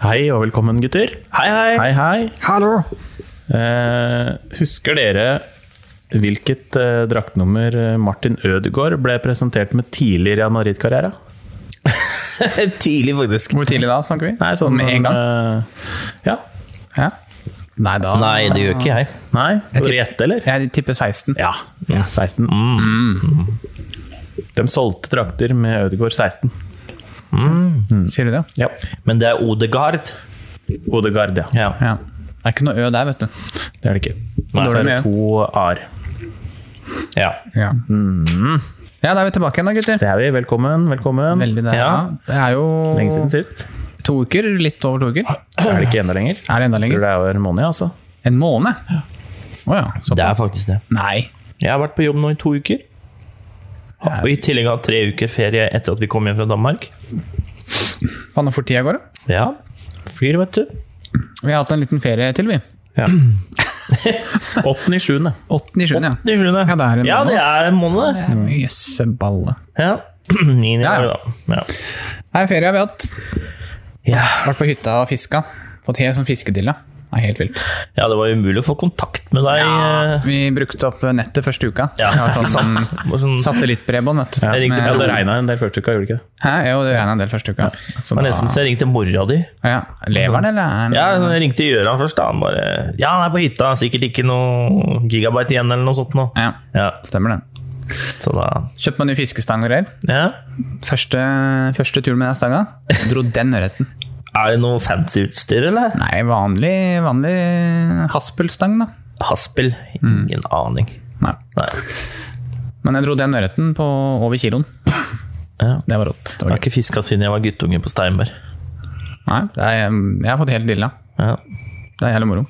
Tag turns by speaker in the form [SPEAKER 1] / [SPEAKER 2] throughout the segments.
[SPEAKER 1] Hei og velkommen, gutter.
[SPEAKER 2] Hei, hei.
[SPEAKER 1] Hei, hei.
[SPEAKER 3] Hallo!
[SPEAKER 1] Eh, husker dere hvilket eh, draktnummer eh, Martin Ødegaard ble presentert med tidlig i Real Madrid-karriera?
[SPEAKER 2] Tidlig, faktisk.
[SPEAKER 4] Hvor tidlig da, snakker vi?
[SPEAKER 1] Nei, sånn
[SPEAKER 4] Med en gang?
[SPEAKER 1] Eh, ja.
[SPEAKER 4] Ja. Nei, da
[SPEAKER 2] Nei, det gjør ikke jeg.
[SPEAKER 1] Nei, skal du gjette, eller?
[SPEAKER 4] Jeg tipper 16.
[SPEAKER 1] Ja. 16. De solgte drakter med Ødegaard 16.
[SPEAKER 2] Mm.
[SPEAKER 4] Sier du det?
[SPEAKER 1] Ja.
[SPEAKER 2] Men det er Odegaard.
[SPEAKER 1] Odegaard, ja.
[SPEAKER 2] Ja.
[SPEAKER 4] Ja. Det er ikke noe Ø der, vet du.
[SPEAKER 1] Det er det ikke.
[SPEAKER 2] Nei.
[SPEAKER 1] Så er det
[SPEAKER 4] Dårlig med.
[SPEAKER 1] to A-er.
[SPEAKER 2] ja.
[SPEAKER 4] Ja,
[SPEAKER 2] Mm.
[SPEAKER 4] ja da er vi tilbake igjen da, gutter.
[SPEAKER 1] Det er vi. Velkommen. velkommen.
[SPEAKER 4] Veldig det. Ja.
[SPEAKER 2] Ja.
[SPEAKER 4] Det er
[SPEAKER 1] Lenge siden
[SPEAKER 4] jo
[SPEAKER 1] sist.
[SPEAKER 4] to uker. Litt over to uker.
[SPEAKER 1] Er det ikke enda lenger?
[SPEAKER 4] Er det enda
[SPEAKER 1] Tror
[SPEAKER 4] lenger?
[SPEAKER 1] det er over en måned, ja, altså.
[SPEAKER 4] En måned? Å ja.
[SPEAKER 2] Det er
[SPEAKER 4] Såpass.
[SPEAKER 2] faktisk det.
[SPEAKER 4] Nei.
[SPEAKER 2] Jeg har vært på jobb nå i to uker. Og i tillegg hatt tre uker ferie etter at vi kom hjem fra Danmark.
[SPEAKER 4] Faen, hvor fort tida går, da.
[SPEAKER 2] Ja. Flyr, vet du.
[SPEAKER 4] Vi har hatt en liten ferie til, vi.
[SPEAKER 1] Ja. 8.7.
[SPEAKER 4] 8. i 7. ja. Mm.
[SPEAKER 2] Det er sjuende.
[SPEAKER 4] Ja, det er en
[SPEAKER 2] Ja,
[SPEAKER 4] måned.
[SPEAKER 2] det er en måned.
[SPEAKER 4] Det er mye Jøsseballe.
[SPEAKER 2] Ja. Niende i
[SPEAKER 4] Ja, ja.
[SPEAKER 2] år, da.
[SPEAKER 4] Nei, ferie har vi hatt.
[SPEAKER 2] Ja.
[SPEAKER 4] Vært på hytta og fiska. Fått helt sånn fiskedille. Det er helt vilt.
[SPEAKER 2] ja, det var umulig å få kontakt med deg. eh,
[SPEAKER 4] Vi brukte opp nettet første uka.
[SPEAKER 2] Ja,
[SPEAKER 4] Vi har
[SPEAKER 2] ikke
[SPEAKER 4] sånn,
[SPEAKER 2] sant? Bare sånn-
[SPEAKER 4] Satellittbredbånd, vet du.
[SPEAKER 1] Ja,
[SPEAKER 2] Jeg ringte
[SPEAKER 1] ja,
[SPEAKER 4] Med-
[SPEAKER 1] det regna en del første uka, gjorde det ikke det?
[SPEAKER 4] Hæ? Jo, det regna en del første uka. Så
[SPEAKER 2] Det var
[SPEAKER 4] da-
[SPEAKER 2] nesten så jeg ringte mora di.
[SPEAKER 4] ja. Lever den, eller? er den-
[SPEAKER 2] Ja, jeg ringte Gjøran først. da Han bare Ja, han er på hytta. Sikkert ikke noe gigabyte igjen, eller noe sånt. Nå.
[SPEAKER 4] ja.
[SPEAKER 2] Ja,
[SPEAKER 4] Stemmer det.
[SPEAKER 2] så da
[SPEAKER 4] Kjøpte meg ny fiskestang og greier.
[SPEAKER 2] ja.
[SPEAKER 4] Første, første turen med den stanga. Dro den ørreten.
[SPEAKER 2] Er det noe fancy utstyr, eller?
[SPEAKER 4] Nei, vanlig, vanlig haspelstang, da.
[SPEAKER 2] Haspel?
[SPEAKER 4] Mm.
[SPEAKER 2] Ingen aning.
[SPEAKER 4] Nei.
[SPEAKER 2] Nei.
[SPEAKER 4] Men jeg dro den ørreten på over kiloen.
[SPEAKER 2] Ja.
[SPEAKER 4] Det var rått. Det
[SPEAKER 2] Jeg
[SPEAKER 4] var
[SPEAKER 2] har
[SPEAKER 4] gøy.
[SPEAKER 2] ikke fiska siden jeg var guttunge på Steinberg.
[SPEAKER 4] Nei, det er, jeg har fått helt dilla.
[SPEAKER 2] Ja.
[SPEAKER 4] Det er jævlig moro.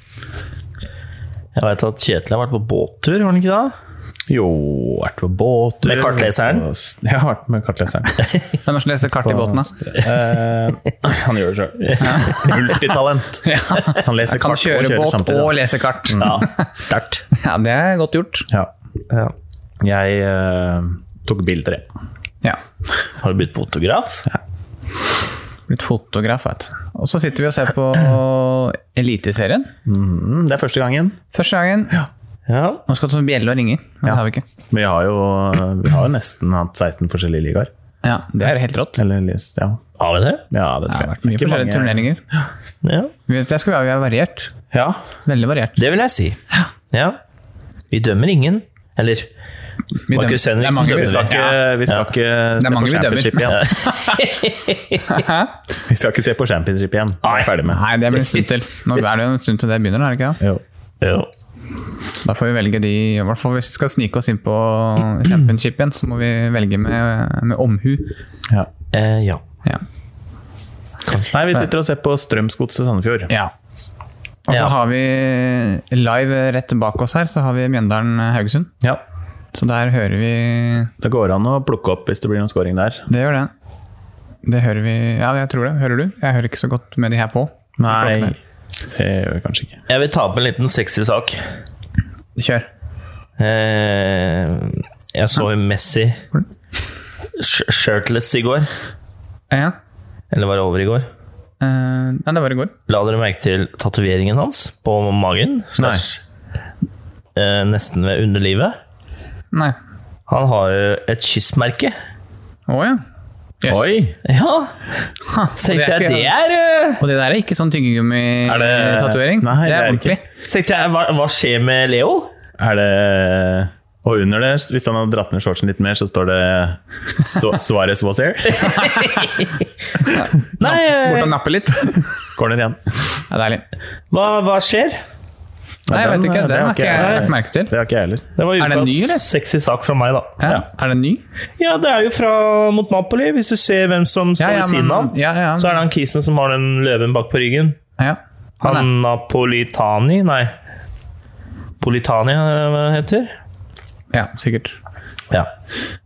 [SPEAKER 2] Jeg veit at Kjetil har vært på båttur, var han ikke det?
[SPEAKER 1] Jo, vært på båttur
[SPEAKER 2] Med kartleseren?
[SPEAKER 1] Jeg har vært med kartleseren.
[SPEAKER 4] Hvem er det som leser kart i båten, da?
[SPEAKER 1] Eh, han gjør det sjøl. Multitalent. Han leser
[SPEAKER 4] Kan
[SPEAKER 1] kart og
[SPEAKER 4] kjøre
[SPEAKER 1] kjører
[SPEAKER 4] båt
[SPEAKER 1] samtidig.
[SPEAKER 4] og lese kart.
[SPEAKER 2] Ja. Sterkt.
[SPEAKER 4] Ja, det er godt gjort.
[SPEAKER 1] Ja.
[SPEAKER 2] Ja.
[SPEAKER 1] Jeg eh, tok bilder, jeg.
[SPEAKER 4] Ja.
[SPEAKER 2] Har du blitt fotograf?
[SPEAKER 4] Blitt fotograf, vet du. Og så sitter vi og ser på Eliteserien.
[SPEAKER 1] Mm, det er første gangen.
[SPEAKER 4] Første gangen.
[SPEAKER 2] Ja.
[SPEAKER 4] Nå skal det som bjelle og ringe. Men Det har vi ikke.
[SPEAKER 1] Vi har jo, eh, vi har jo nesten hatt 16 forskjellige ligaer.
[SPEAKER 4] Ja, Det er helt rått.
[SPEAKER 1] Eller lis- ja.
[SPEAKER 2] Har vi det?
[SPEAKER 1] ja, det tror
[SPEAKER 4] Det har
[SPEAKER 1] jeg.
[SPEAKER 4] vært mye
[SPEAKER 1] Ikke
[SPEAKER 4] forskjellige
[SPEAKER 1] mange-
[SPEAKER 4] turneringer.
[SPEAKER 2] Ja.
[SPEAKER 4] Vi vet- Det skal vi ha. Vi er variert.
[SPEAKER 1] Ja.
[SPEAKER 4] Veldig variert.
[SPEAKER 2] Det vil jeg si. Ja. Vi dømmer ingen. Eller
[SPEAKER 4] Vi
[SPEAKER 2] Markus
[SPEAKER 4] dømmer- det er
[SPEAKER 2] Henriksen
[SPEAKER 4] mange vi
[SPEAKER 1] Vi skal
[SPEAKER 2] dømmer.
[SPEAKER 4] dømmer.
[SPEAKER 1] ikke, vi skal ikke se på
[SPEAKER 4] mange vi dømmer.
[SPEAKER 1] championship igjen.
[SPEAKER 4] Hæ?
[SPEAKER 1] Vi skal ikke se på championship igjen. Det er jeg ferdig med.
[SPEAKER 4] Nei, det blir en stund til. Nå er det jo en stund til det begynner, er det ikke? det?
[SPEAKER 1] Jo.
[SPEAKER 2] Jo.
[SPEAKER 4] Da får vi velge de I hvert fall hvis vi skal snike oss inn på championship igjen, så må vi velge med, med omhu.
[SPEAKER 1] Ja.
[SPEAKER 2] Eh, ja.
[SPEAKER 4] Ja.
[SPEAKER 1] Nei, vi sitter og ser på Strømsgodset Sandefjord.
[SPEAKER 4] Ja. Og så
[SPEAKER 2] Ja.
[SPEAKER 4] har vi live rett bak oss her, så har vi Mjøndalen-Haugesund.
[SPEAKER 1] Ja.
[SPEAKER 4] Så der hører vi
[SPEAKER 1] Det går an å plukke opp hvis det blir noen scoring der.
[SPEAKER 4] Det gjør det. Det hører vi Ja, jeg tror det. Hører du? Jeg hører ikke så godt med de her på.
[SPEAKER 1] Nei, det gjør vi kanskje ikke.
[SPEAKER 2] Jeg vil ta opp en liten sexy sak.
[SPEAKER 4] Kjør.
[SPEAKER 2] Eh, jeg så jo Messi sh- shirtless i går.
[SPEAKER 4] Ja.
[SPEAKER 2] Eller var det over i går?
[SPEAKER 4] Eh, nei, det var i går.
[SPEAKER 2] La dere merke til tatoveringen hans på magen? Slash, eh, nesten ved underlivet.
[SPEAKER 4] Nei.
[SPEAKER 2] Han har jo et kystmerke.
[SPEAKER 4] Å ja. Yes.
[SPEAKER 1] Oi!
[SPEAKER 2] Ja! Så
[SPEAKER 4] det
[SPEAKER 2] tenkte
[SPEAKER 4] er
[SPEAKER 2] jeg det
[SPEAKER 4] ikke-
[SPEAKER 2] er eh,
[SPEAKER 4] Og det der er ikke sånn
[SPEAKER 1] Er det-
[SPEAKER 4] tyggegummi-tatovering. Det,
[SPEAKER 1] Nei,
[SPEAKER 4] det er
[SPEAKER 1] det er
[SPEAKER 4] ordentlig.
[SPEAKER 2] så tenkte jeg, hva, hva skjer med Leo?
[SPEAKER 1] Er det Og under det, hvis han hadde dratt ned shortsen litt mer, så står det so Suarez was here.
[SPEAKER 2] Nei, eh,
[SPEAKER 4] Bort og nappe litt. Det
[SPEAKER 1] Corner igjen.
[SPEAKER 4] er deilig.
[SPEAKER 2] hva, hva skjer?
[SPEAKER 4] Nei, jeg
[SPEAKER 1] den-
[SPEAKER 4] vet ikke.
[SPEAKER 1] det
[SPEAKER 4] Den
[SPEAKER 1] har
[SPEAKER 4] har ikke jeg
[SPEAKER 1] jeg-
[SPEAKER 4] lagt merke til.
[SPEAKER 1] Det har ikke jeg heller.
[SPEAKER 2] Det var
[SPEAKER 4] Er den
[SPEAKER 2] ukas
[SPEAKER 4] ny, eller?
[SPEAKER 2] sexy sak fra meg, da.
[SPEAKER 4] Ja. Er den ny?
[SPEAKER 2] Ja, det er jo fra mot Napoli. Hvis du ser hvem som står
[SPEAKER 4] Ja, ja,
[SPEAKER 2] ved siden
[SPEAKER 4] men-
[SPEAKER 2] av,
[SPEAKER 4] ja, ja.
[SPEAKER 2] så er det han kisen som har den løven bak på ryggen.
[SPEAKER 4] Ja.
[SPEAKER 2] Han
[SPEAKER 4] Han er.
[SPEAKER 2] Napolitani Nei. Politani, eh, hva det heter
[SPEAKER 4] Ja, sikkert.
[SPEAKER 2] ja.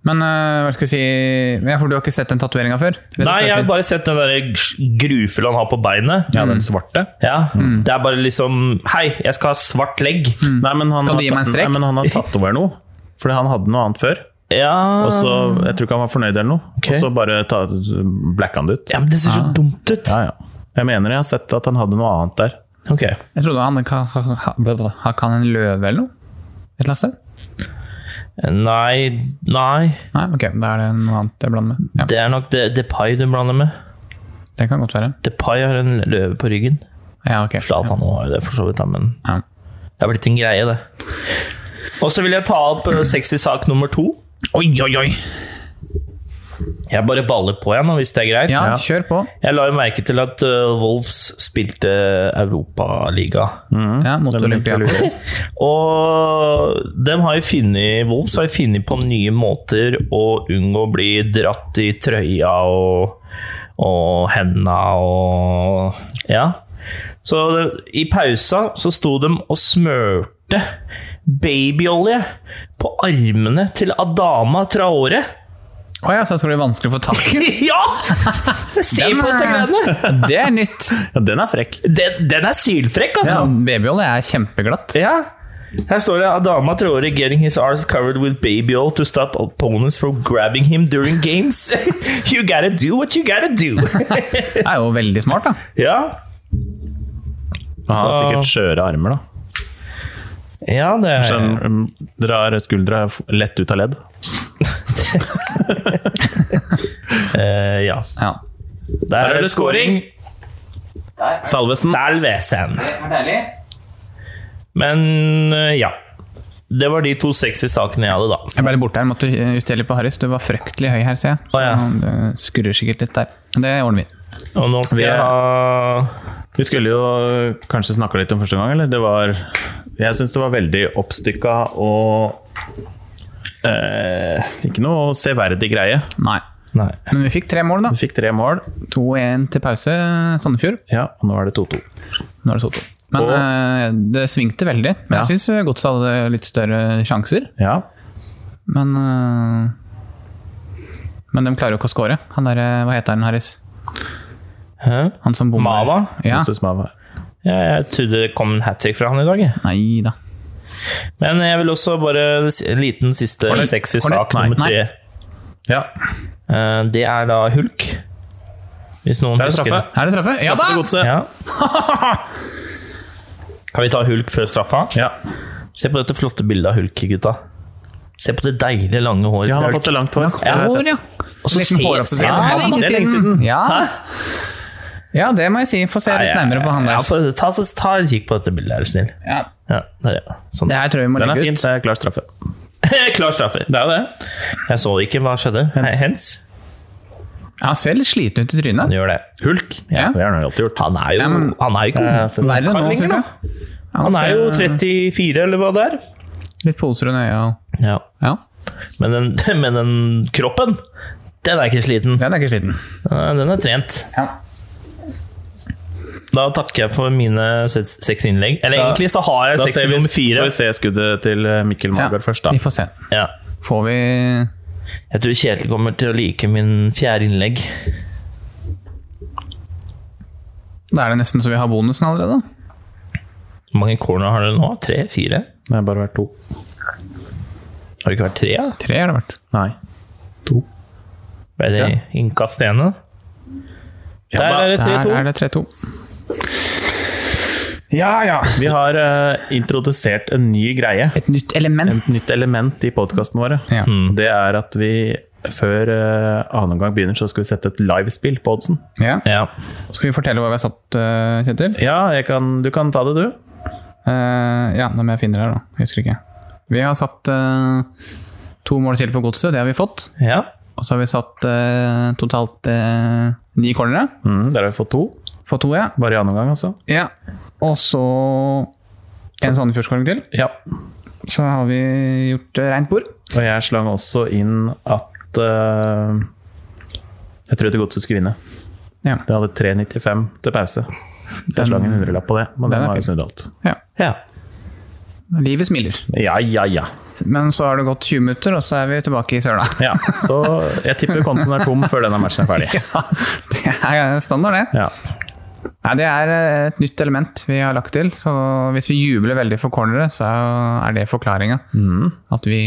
[SPEAKER 4] Men øh, hva skal jeg si Men Jeg tror du har ikke sett den tatoveringa før? Eller
[SPEAKER 2] Nei, jeg har
[SPEAKER 4] kanskje-
[SPEAKER 2] bare sett den der grufulle han har på beinet. Mm.
[SPEAKER 1] Ja, den svarte.
[SPEAKER 2] Ja, Det er bare liksom Hei, jeg skal ha svart legg.
[SPEAKER 1] Nei, men han
[SPEAKER 4] Mm. Kan du gi
[SPEAKER 1] har-
[SPEAKER 4] meg en strek?
[SPEAKER 1] Nei, men han har tatt over noe. Fordi han hadde noe annet før.
[SPEAKER 2] Ja,
[SPEAKER 1] Og så,
[SPEAKER 4] Ah.
[SPEAKER 1] Jeg tror ikke han var fornøyd eller noe.
[SPEAKER 2] Ok.
[SPEAKER 1] Og så bare ta- blacka han det ut.
[SPEAKER 2] ja men Det ser så dumt ut.
[SPEAKER 1] Ja, ja. Jeg mener jeg har sett at han hadde noe annet der.
[SPEAKER 2] Ok.
[SPEAKER 4] Jeg trodde han kan, ha- blablabla. han kan en løve eller noe? Et eller annet sted?
[SPEAKER 2] Nei, nei.
[SPEAKER 4] Nei, ok, da er det noe annet jeg blander med. Ja,
[SPEAKER 2] Det er nok De- Depay du blander med.
[SPEAKER 4] det kan godt være.
[SPEAKER 2] Depay har en løve på ryggen.
[SPEAKER 4] Ja, ok.
[SPEAKER 2] Zlatan har jo det, for så vidt, da, men
[SPEAKER 4] Ja.
[SPEAKER 2] det har blitt en greie, det. Og så vil jeg ta opp eh, sexy sak nummer to.
[SPEAKER 4] Oi, oi, oi!
[SPEAKER 2] Jeg bare baller på igjen, hvis det er greit.
[SPEAKER 4] Ja, kjør på.
[SPEAKER 2] Jeg la jo merke til at eh, Wolves spilte Europaliga. Mm.
[SPEAKER 4] Ja, mot
[SPEAKER 1] Det var litt
[SPEAKER 4] Olympiakos.
[SPEAKER 1] lurt.
[SPEAKER 2] Og dem har jo funnet, Wolves har jo funnet på nye måter å unngå å bli dratt i trøya og, og henda og Ja. Så det- i pausa så sto de og smørte babyolje på armene til Adama Traore.
[SPEAKER 4] Å ja, så jeg tror det blir vanskelig å få tak i.
[SPEAKER 2] ja! Se på dette greiene!
[SPEAKER 4] Det er nytt!
[SPEAKER 1] Ja, den er frekk.
[SPEAKER 2] Den, den er sylfrekk, altså!
[SPEAKER 4] Ja, Babyolje er kjempeglatt.
[SPEAKER 2] Ja. Her står det Adama Traore getting his arse covered with baby oil to stop opponents from grabbing him during games. you gotta do what you gotta do.
[SPEAKER 4] Det er jo veldig smart, da.
[SPEAKER 2] ja.
[SPEAKER 1] Han har
[SPEAKER 2] Så-
[SPEAKER 1] sikkert skjøre armer, da.
[SPEAKER 2] ja, det er
[SPEAKER 1] Så han mm, drar skuldra f- lett ut av ledd.
[SPEAKER 2] Eh, Ja.
[SPEAKER 4] Ja.
[SPEAKER 1] Der er det scoring! Salvesen.
[SPEAKER 2] Salvesen.
[SPEAKER 4] Det er deilig.
[SPEAKER 2] Men eh, ja. Det var de to sexy sakene jeg hadde, da.
[SPEAKER 4] Jeg ble litt borte her, måtte justere litt på Harris. Du var fryktelig høy her, ser jeg. Så
[SPEAKER 2] Å, ja.
[SPEAKER 4] du skurrer sikkert litt der. Men det ordner vi.
[SPEAKER 2] Og nå skal
[SPEAKER 1] Vi er-
[SPEAKER 2] jeg ha
[SPEAKER 1] Vi skulle jo kanskje snakka litt om første gang, eller? Det var Jeg syns det var veldig oppstykka og eh, Ikke noe severdig greie.
[SPEAKER 4] Nei.
[SPEAKER 2] Nei.
[SPEAKER 4] Men vi fikk tre mål, da.
[SPEAKER 1] Vi fikk tre mål,
[SPEAKER 4] 2-1 til pause, Sandefjord.
[SPEAKER 1] ja, og nå er det 2-2.
[SPEAKER 4] Nå er det 2-2. Men
[SPEAKER 1] Og-
[SPEAKER 4] eh, det svingte veldig. Men
[SPEAKER 1] Ja.
[SPEAKER 4] jeg syns Godset hadde litt større sjanser.
[SPEAKER 1] Ja.
[SPEAKER 4] Men eh, Men de klarer jo ikke å score. Han der, eh, hva heter han, Harris?
[SPEAKER 2] Hæ?
[SPEAKER 4] Han som bommer.
[SPEAKER 2] Mava?
[SPEAKER 4] Ja.
[SPEAKER 1] Jesus, Mava.
[SPEAKER 2] Ja, jeg trodde det kom en hat trick fra han i dag. jeg.
[SPEAKER 4] Nei da.
[SPEAKER 2] Men jeg vil også bare s- En liten siste
[SPEAKER 4] Oi,
[SPEAKER 2] sexy
[SPEAKER 4] oi,
[SPEAKER 2] sak
[SPEAKER 4] nei,
[SPEAKER 2] nummer
[SPEAKER 4] nei.
[SPEAKER 2] tre.
[SPEAKER 1] ja.
[SPEAKER 2] Eh, Det er da Hulk. Hvis noen
[SPEAKER 1] Der er
[SPEAKER 2] husker
[SPEAKER 1] straffe.
[SPEAKER 4] Er det straffe? Ja da!
[SPEAKER 1] Til
[SPEAKER 2] det.
[SPEAKER 1] godset.
[SPEAKER 2] Ja. Kan vi ta Hulk før straffa?
[SPEAKER 1] Ja.
[SPEAKER 2] Se på dette flotte bildet av Hulk, gutta. Se på det deilige, lange håret.
[SPEAKER 1] ja, han har
[SPEAKER 2] til
[SPEAKER 1] fått så langt hår.
[SPEAKER 2] Ja,
[SPEAKER 1] Det har jeg
[SPEAKER 4] Hår,
[SPEAKER 1] sett.
[SPEAKER 4] ja.
[SPEAKER 2] Og så
[SPEAKER 4] Liten
[SPEAKER 2] se-
[SPEAKER 4] håroppsett.
[SPEAKER 2] se-
[SPEAKER 4] Ja,
[SPEAKER 2] Ja,
[SPEAKER 4] det er lenge siden. Ja. ja, det må jeg si. Få se
[SPEAKER 2] Nei,
[SPEAKER 4] litt nærmere på han
[SPEAKER 2] Ja,
[SPEAKER 4] der.
[SPEAKER 2] få- ta, ta, ta en kikk på dette bildet, er du snill.
[SPEAKER 4] Ja.
[SPEAKER 2] Ja, der, ja. Sånn.
[SPEAKER 4] Det her tror jeg vi må
[SPEAKER 1] Den er
[SPEAKER 4] legge
[SPEAKER 1] fin.
[SPEAKER 4] ut.
[SPEAKER 1] Det er klar straffe.
[SPEAKER 2] Klar straffe.
[SPEAKER 1] Det er jo det.
[SPEAKER 2] Jeg så det ikke. Hva skjedde? Hens. Hens?
[SPEAKER 4] Han ser litt sliten ut i
[SPEAKER 2] Han
[SPEAKER 4] trynet.
[SPEAKER 2] gjør det.
[SPEAKER 1] Hulk.
[SPEAKER 4] Ja.
[SPEAKER 1] Det har han jo alltid gjort.
[SPEAKER 2] Han er jo,
[SPEAKER 4] Ja, men-
[SPEAKER 2] han er jo ikke
[SPEAKER 1] Jeg har sett-
[SPEAKER 4] Verre nå,
[SPEAKER 2] Karlinger,
[SPEAKER 4] syns jeg.
[SPEAKER 2] Han er
[SPEAKER 4] ser eh,
[SPEAKER 2] jo
[SPEAKER 1] Altså,
[SPEAKER 2] 34, eller hva det er.
[SPEAKER 4] Litt poser under øya og
[SPEAKER 2] Ja.
[SPEAKER 4] Ja,
[SPEAKER 2] Men den, men den kroppen, den er ikke sliten.
[SPEAKER 4] den er ikke sliten.
[SPEAKER 2] Eh, Den er trent.
[SPEAKER 4] Ja.
[SPEAKER 2] Da takker jeg for mine se- seks innlegg. Eller
[SPEAKER 1] Da-
[SPEAKER 2] egentlig så har jeg
[SPEAKER 1] Da
[SPEAKER 2] seks
[SPEAKER 1] ser
[SPEAKER 2] i
[SPEAKER 1] vi,
[SPEAKER 2] nummer
[SPEAKER 1] skal
[SPEAKER 2] fire.
[SPEAKER 1] vi se skuddet til eh, Mikkel Magard først, da.
[SPEAKER 4] Vi får se.
[SPEAKER 2] Ja.
[SPEAKER 4] Får vi
[SPEAKER 2] Jeg tror Kjetil kommer til å like min fjerde innlegg.
[SPEAKER 4] Da er det nesten så vi har bonusen allerede.
[SPEAKER 2] Hvor mange corner har dere nå? Tre? Fire?
[SPEAKER 1] Det har bare vært to.
[SPEAKER 2] Har det ikke vært tre? da?
[SPEAKER 4] Tre har det vært.
[SPEAKER 1] Nei.
[SPEAKER 2] Ble det
[SPEAKER 1] Ja.
[SPEAKER 2] innkast ene?
[SPEAKER 1] Ja,
[SPEAKER 2] Der
[SPEAKER 1] da.
[SPEAKER 2] er det
[SPEAKER 4] Der
[SPEAKER 2] 3-2.
[SPEAKER 4] er det 3-2. Ja, ja.
[SPEAKER 1] Vi har eh, introdusert en ny greie.
[SPEAKER 4] Et nytt element.
[SPEAKER 1] Et nytt element i podkasten vår.
[SPEAKER 4] Ja.
[SPEAKER 1] Det er at vi før eh, annen omgang begynner, så skal vi sette et livespill på oddsen.
[SPEAKER 4] ja.
[SPEAKER 2] Ja.
[SPEAKER 4] Skal vi fortelle hva vi har satt, eh, Kjetil?
[SPEAKER 1] Ja, jeg kan, du kan ta det, du.
[SPEAKER 4] Eh, ja, da må jeg finne det her, da. Jeg husker ikke. Vi har satt eh, to mål til på godset, det har vi fått.
[SPEAKER 2] ja.
[SPEAKER 4] Og så har vi satt eh, totalt eh, ni cornere.
[SPEAKER 1] Mm, der har vi fått to.
[SPEAKER 4] Fått to, ja.
[SPEAKER 1] Bare i annen omgang, altså.
[SPEAKER 4] ja. Og så en Sandefjordscoring til.
[SPEAKER 1] Ja.
[SPEAKER 4] Så har vi gjort eh, rent bord.
[SPEAKER 1] Og jeg slang også inn at eh, Jeg tror det godset skulle vinne.
[SPEAKER 4] Ja.
[SPEAKER 1] Det hadde 3,95 til pause. Jeg slang en hundrelapp på det, men
[SPEAKER 4] den
[SPEAKER 1] den
[SPEAKER 4] er
[SPEAKER 1] har
[SPEAKER 4] fin.
[SPEAKER 1] jo snudd alt.
[SPEAKER 4] ja.
[SPEAKER 2] ja.
[SPEAKER 4] Livet smiler.
[SPEAKER 1] Ja, ja, ja.
[SPEAKER 4] Men så har det gått 20 minutter, og så er vi tilbake i søla.
[SPEAKER 1] ja. Så jeg tipper kontoen er tom før denne matchen er ferdig.
[SPEAKER 4] ja, det er standard, det.
[SPEAKER 1] Ja.
[SPEAKER 4] Nei, det er eh, et nytt element vi har lagt til. Så hvis vi jubler veldig for corneret, så er det forklaringa. Mm. At vi,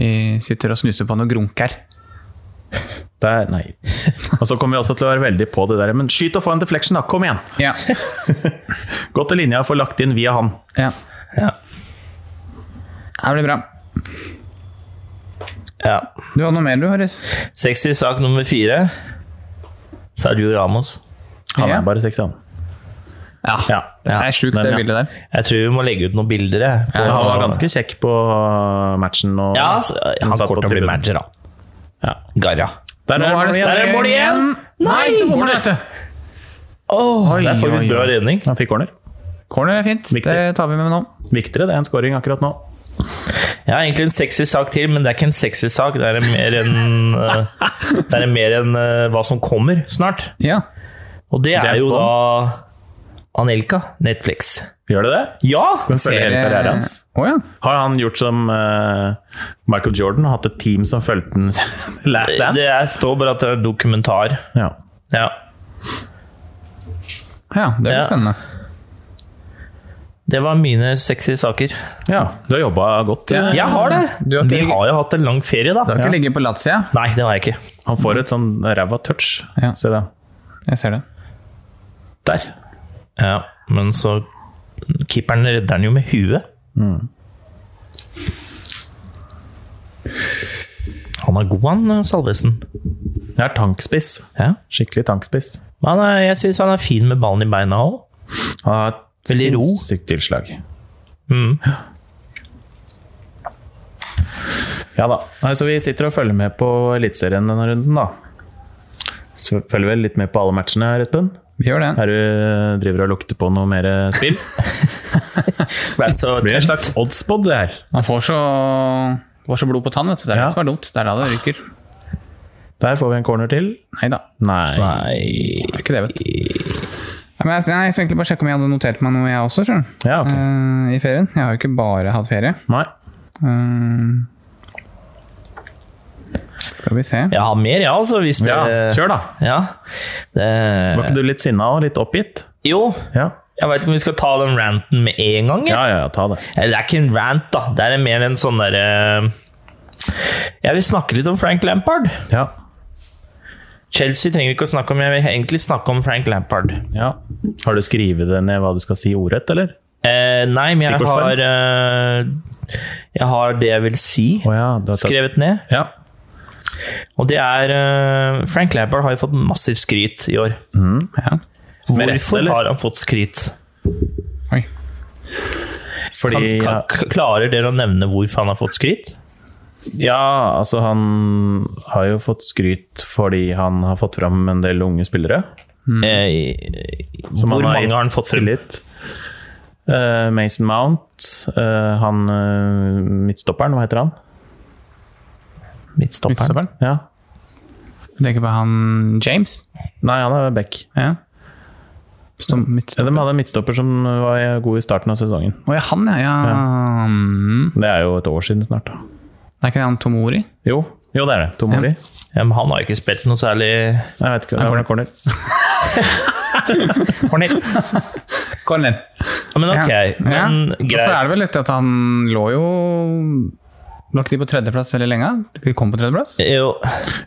[SPEAKER 4] vi sitter og snuser på noe grunk her.
[SPEAKER 1] Der, nei. Og så kommer vi også til å være veldig på det der. Men skyt og få en deflection, da! Kom igjen!
[SPEAKER 4] Ja.
[SPEAKER 1] Gå til linja og få lagt inn via han.
[SPEAKER 4] ja.
[SPEAKER 2] Ja.
[SPEAKER 4] Det blir bra.
[SPEAKER 2] ja.
[SPEAKER 4] Du har noe mer, du, Harris?
[SPEAKER 2] Sexy sak nummer fire. Sergio Ramos.
[SPEAKER 1] Han
[SPEAKER 4] Ja.
[SPEAKER 1] er bare 60, han.
[SPEAKER 4] Ja.
[SPEAKER 1] Ja.
[SPEAKER 4] Det er sjukt,
[SPEAKER 1] Den,
[SPEAKER 4] det
[SPEAKER 1] ja.
[SPEAKER 4] bildet der.
[SPEAKER 2] Jeg tror vi må legge ut noen bilder. Jeg, på-
[SPEAKER 1] Men han var ganske kjekk på matchen. Og
[SPEAKER 2] ja, s- han
[SPEAKER 1] satt på
[SPEAKER 2] kommer til å bli
[SPEAKER 1] tribunen.
[SPEAKER 2] manager, da.
[SPEAKER 1] Ja.
[SPEAKER 2] Garra.
[SPEAKER 1] Der
[SPEAKER 4] Nå
[SPEAKER 1] er
[SPEAKER 4] er det
[SPEAKER 1] det igjen.
[SPEAKER 4] spennende.
[SPEAKER 2] Der er målet igjen!
[SPEAKER 4] Nei, så får man
[SPEAKER 1] corner.
[SPEAKER 4] dette! Oi,
[SPEAKER 2] det er
[SPEAKER 4] oi,
[SPEAKER 2] faktisk bra
[SPEAKER 4] oi.
[SPEAKER 2] redning.
[SPEAKER 1] Han fikk corner.
[SPEAKER 4] Corner er fint.
[SPEAKER 1] Viktig.
[SPEAKER 4] Det tar vi med nå.
[SPEAKER 1] Viktigere det enn scoring akkurat nå.
[SPEAKER 2] Jeg har egentlig en sexy sak til, men det er ikke en sexy sak. Det er en mer enn Det er en mer enn eh, hva som kommer snart.
[SPEAKER 4] Ja.
[SPEAKER 2] Og det er
[SPEAKER 1] James
[SPEAKER 2] jo
[SPEAKER 1] Bond.
[SPEAKER 2] da Anelka, Netflix.
[SPEAKER 1] Gjør det det?
[SPEAKER 2] Ja!
[SPEAKER 1] Skal vi følge hele karrieren hans?
[SPEAKER 4] Å ja.
[SPEAKER 1] Har han gjort som eh, Michael Jordan og hatt et team som fulgte den last dance?
[SPEAKER 2] Det er, står bare at det er en dokumentar.
[SPEAKER 1] Ja.
[SPEAKER 2] Ja.
[SPEAKER 4] ja. Det blir
[SPEAKER 2] Ja.
[SPEAKER 4] spennende.
[SPEAKER 2] Det var mine sexy saker.
[SPEAKER 1] ja. Du har jobba godt.
[SPEAKER 4] Ja.
[SPEAKER 1] du.
[SPEAKER 2] Jeg har det!
[SPEAKER 4] Du har ikke-
[SPEAKER 2] Vi har jo hatt en lang ferie, da.
[SPEAKER 4] Du har ikke ligget på Lazia?
[SPEAKER 2] Nei, det har jeg ikke.
[SPEAKER 1] Han får et sånn ræva touch.
[SPEAKER 4] Ja.
[SPEAKER 1] Se det.
[SPEAKER 4] Jeg ser det.
[SPEAKER 1] Der.
[SPEAKER 2] Ja, Men så Keeperen redder den jo med huet. Han er god, han Salvesen.
[SPEAKER 1] Det er tankspiss.
[SPEAKER 2] Ja.
[SPEAKER 1] Skikkelig tankspiss.
[SPEAKER 2] Men han er, jeg syns han er fin med ballen i beina òg.
[SPEAKER 1] Han har et
[SPEAKER 2] Veldig ro.
[SPEAKER 1] sinnssykt tilslag.
[SPEAKER 2] Mm.
[SPEAKER 1] Ja da. Nei, så vi sitter og følger med på Eliteserien denne runden, da. Så følger vel litt med på alle matchene, Rødtbund?
[SPEAKER 4] Vi gjør det.
[SPEAKER 1] Er du driver og lukter på noe mer spill? Det blir en slags oddspod, det her.
[SPEAKER 4] Man får så, får så blod på tann, vet du. Det er
[SPEAKER 1] Ja.
[SPEAKER 4] det som er dumt. Det er da det ryker.
[SPEAKER 1] Der får vi en corner til.
[SPEAKER 4] Nei da.
[SPEAKER 1] Nei.
[SPEAKER 2] Nei
[SPEAKER 4] Det er ikke det, vet du. Ja, men jeg, jeg skal egentlig bare sjekke om jeg hadde notert meg noe, jeg også, skjønner du.
[SPEAKER 1] Ja, ok.
[SPEAKER 4] Eh, I ferien. Jeg har jo ikke bare hatt ferie.
[SPEAKER 1] Nei.
[SPEAKER 4] Eh, skal vi se.
[SPEAKER 2] Jeg har mer, ja, altså, hvis det
[SPEAKER 1] Ja, kjør, da.
[SPEAKER 2] Ja.
[SPEAKER 1] Var
[SPEAKER 2] Det
[SPEAKER 1] ikke du litt sinna og litt oppgitt?
[SPEAKER 2] Jo,
[SPEAKER 1] Ja.
[SPEAKER 2] jeg veit ikke om vi skal ta den ranten med en gang. jeg.
[SPEAKER 1] ja, ja, ja, ta det.
[SPEAKER 2] Eller, det er ikke en rant, da. Det er mer en sånn derre Jeg vil snakke litt om Frank Lampard.
[SPEAKER 1] Ja.
[SPEAKER 2] Chelsea trenger vi ikke å snakke om, jeg vil egentlig snakke om Frank Lampard.
[SPEAKER 1] ja. Har du skrevet det ned hva du skal si ordrett, eller?
[SPEAKER 2] Eh, nei, men jeg
[SPEAKER 1] Stikkordsform?
[SPEAKER 2] har eh, Jeg har det jeg vil si,
[SPEAKER 1] Å ja, du har tatt-
[SPEAKER 2] skrevet ned.
[SPEAKER 1] Ja.
[SPEAKER 2] Og det er eh, Frank Lampard har jo fått massivt skryt i år.
[SPEAKER 4] Ja.
[SPEAKER 1] Med rett,
[SPEAKER 2] Hvorfor
[SPEAKER 1] eller?
[SPEAKER 2] har han fått skryt?
[SPEAKER 4] Oi.
[SPEAKER 2] Kan,
[SPEAKER 1] Fordi
[SPEAKER 2] kan, k- klarer dere å nevne hvorfor han har fått skryt?
[SPEAKER 1] Ja, altså han har jo fått skryt fordi han har fått fram en del unge spillere.
[SPEAKER 2] Eh,
[SPEAKER 1] Hmm. Som
[SPEAKER 2] hvor
[SPEAKER 1] han
[SPEAKER 2] mange
[SPEAKER 1] gitt
[SPEAKER 2] har han fått frem?
[SPEAKER 1] tillit. Eh, Mason Mount, eh, han eh, midtstopperen, hva heter han?
[SPEAKER 2] Midtstopperen.
[SPEAKER 4] Midtstopperen.
[SPEAKER 1] Ja.
[SPEAKER 4] Du tenker på han James?
[SPEAKER 1] Nei, han er back.
[SPEAKER 4] Ja. Stå midt.
[SPEAKER 1] Ja, De hadde en midtstopper som var god i starten av sesongen.
[SPEAKER 4] Å ja, han ja. ja. Mm.
[SPEAKER 1] Det er jo et år siden snart, da.
[SPEAKER 4] Det er ikke det han Tomori?
[SPEAKER 1] Jo, jo det er det. Tomori.
[SPEAKER 2] Ja, men han har jo ikke spilt noe særlig
[SPEAKER 1] Jeg vet ikke. Det var en corner.
[SPEAKER 2] Corner.
[SPEAKER 4] Corner.
[SPEAKER 2] Ja, men ok,
[SPEAKER 4] Ja.
[SPEAKER 2] men
[SPEAKER 4] Og så er det
[SPEAKER 2] greit.
[SPEAKER 4] vel litt at han lå jo Lå ikke de på tredjeplass veldig lenge? De kom på tredjeplass?
[SPEAKER 2] Eh, Jo,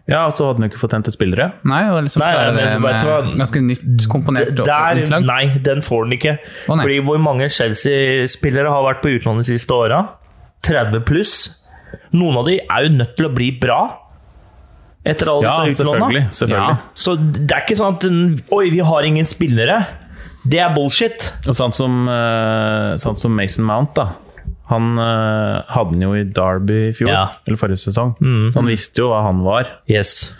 [SPEAKER 1] Ja, og så hadde han jo ikke fått hentet spillere.
[SPEAKER 4] Nei, og liksom
[SPEAKER 2] Nei,
[SPEAKER 4] klarer
[SPEAKER 2] nei,
[SPEAKER 4] det
[SPEAKER 2] men vet
[SPEAKER 4] med
[SPEAKER 2] du hva?
[SPEAKER 4] ganske nytt komponert
[SPEAKER 2] der,
[SPEAKER 4] utlag.
[SPEAKER 2] nei, den får han ikke.
[SPEAKER 4] Å, nei.
[SPEAKER 2] Fordi hvor mange Chelsea-spillere har vært på utlandet de siste åra? 30 pluss. Noen av de er jo nødt til å bli bra etter alle
[SPEAKER 1] Ja,
[SPEAKER 2] disse
[SPEAKER 1] selvfølgelig.
[SPEAKER 2] utlåna.
[SPEAKER 1] selvfølgelig.
[SPEAKER 4] Ja.
[SPEAKER 2] Så det er ikke sånn at Oi, vi har ingen spillere. Det er bullshit.
[SPEAKER 1] Og sånn som, eh, sånn som Mason Mount, da. Han eh, hadde den jo i Derby i fjor,
[SPEAKER 2] Ja. Mhm.
[SPEAKER 1] eller forrige sesong. Så han visste jo hva han var.
[SPEAKER 2] Yes.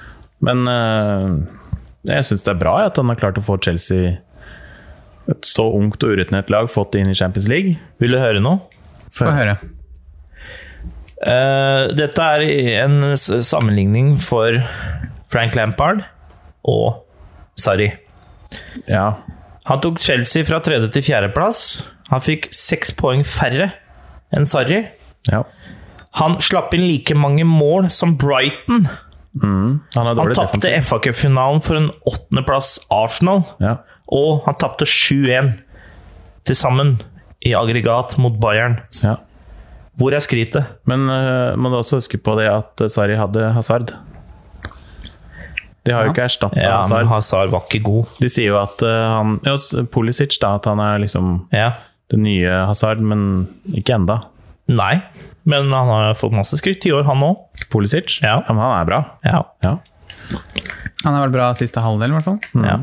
[SPEAKER 1] Men eh, jeg syns det er bra ja, at han har klart å få Chelsea, et så ungt og urutinert lag, fått det inn i Champions League.
[SPEAKER 2] Vil du høre noe?
[SPEAKER 1] For,
[SPEAKER 4] Få høre.
[SPEAKER 2] Eh, dette er en s- sammenligning for Frank Lampard og Sarri.
[SPEAKER 1] Ja.
[SPEAKER 2] Han tok Chelsea fra tredje til fjerdeplass. Han fikk seks poeng færre enn Sarri.
[SPEAKER 1] ja.
[SPEAKER 2] Han slapp inn like mange mål som Brighton.
[SPEAKER 1] Han er
[SPEAKER 2] Han
[SPEAKER 1] dårlig
[SPEAKER 2] tapte
[SPEAKER 1] defensivt.
[SPEAKER 2] FA-cupfinalen for en åttendeplass Arsenal,
[SPEAKER 1] Ja.
[SPEAKER 2] og han tapte 7-1 til sammen i aggregat mot Bayern.
[SPEAKER 1] Ja.
[SPEAKER 2] Hvor er skrytet?
[SPEAKER 1] Men eh, må du også huske på det at Sarri hadde Hazard. De har jo ikke erstatta
[SPEAKER 2] Ja,
[SPEAKER 1] Hazard.
[SPEAKER 2] men Hazard var ikke god.
[SPEAKER 1] De sier jo at eh, han ja, s- Pulisic, da, at han er liksom
[SPEAKER 2] Ja.
[SPEAKER 1] den nye Hazard, men ikke enda.
[SPEAKER 2] Nei, men han har fått masse skryt i år, han òg.
[SPEAKER 1] Pulisic?
[SPEAKER 2] Ja.
[SPEAKER 1] men han er bra.
[SPEAKER 2] Ja.
[SPEAKER 1] Ja.
[SPEAKER 4] Han er vel bra siste halvdel, i hvert fall.
[SPEAKER 2] ja.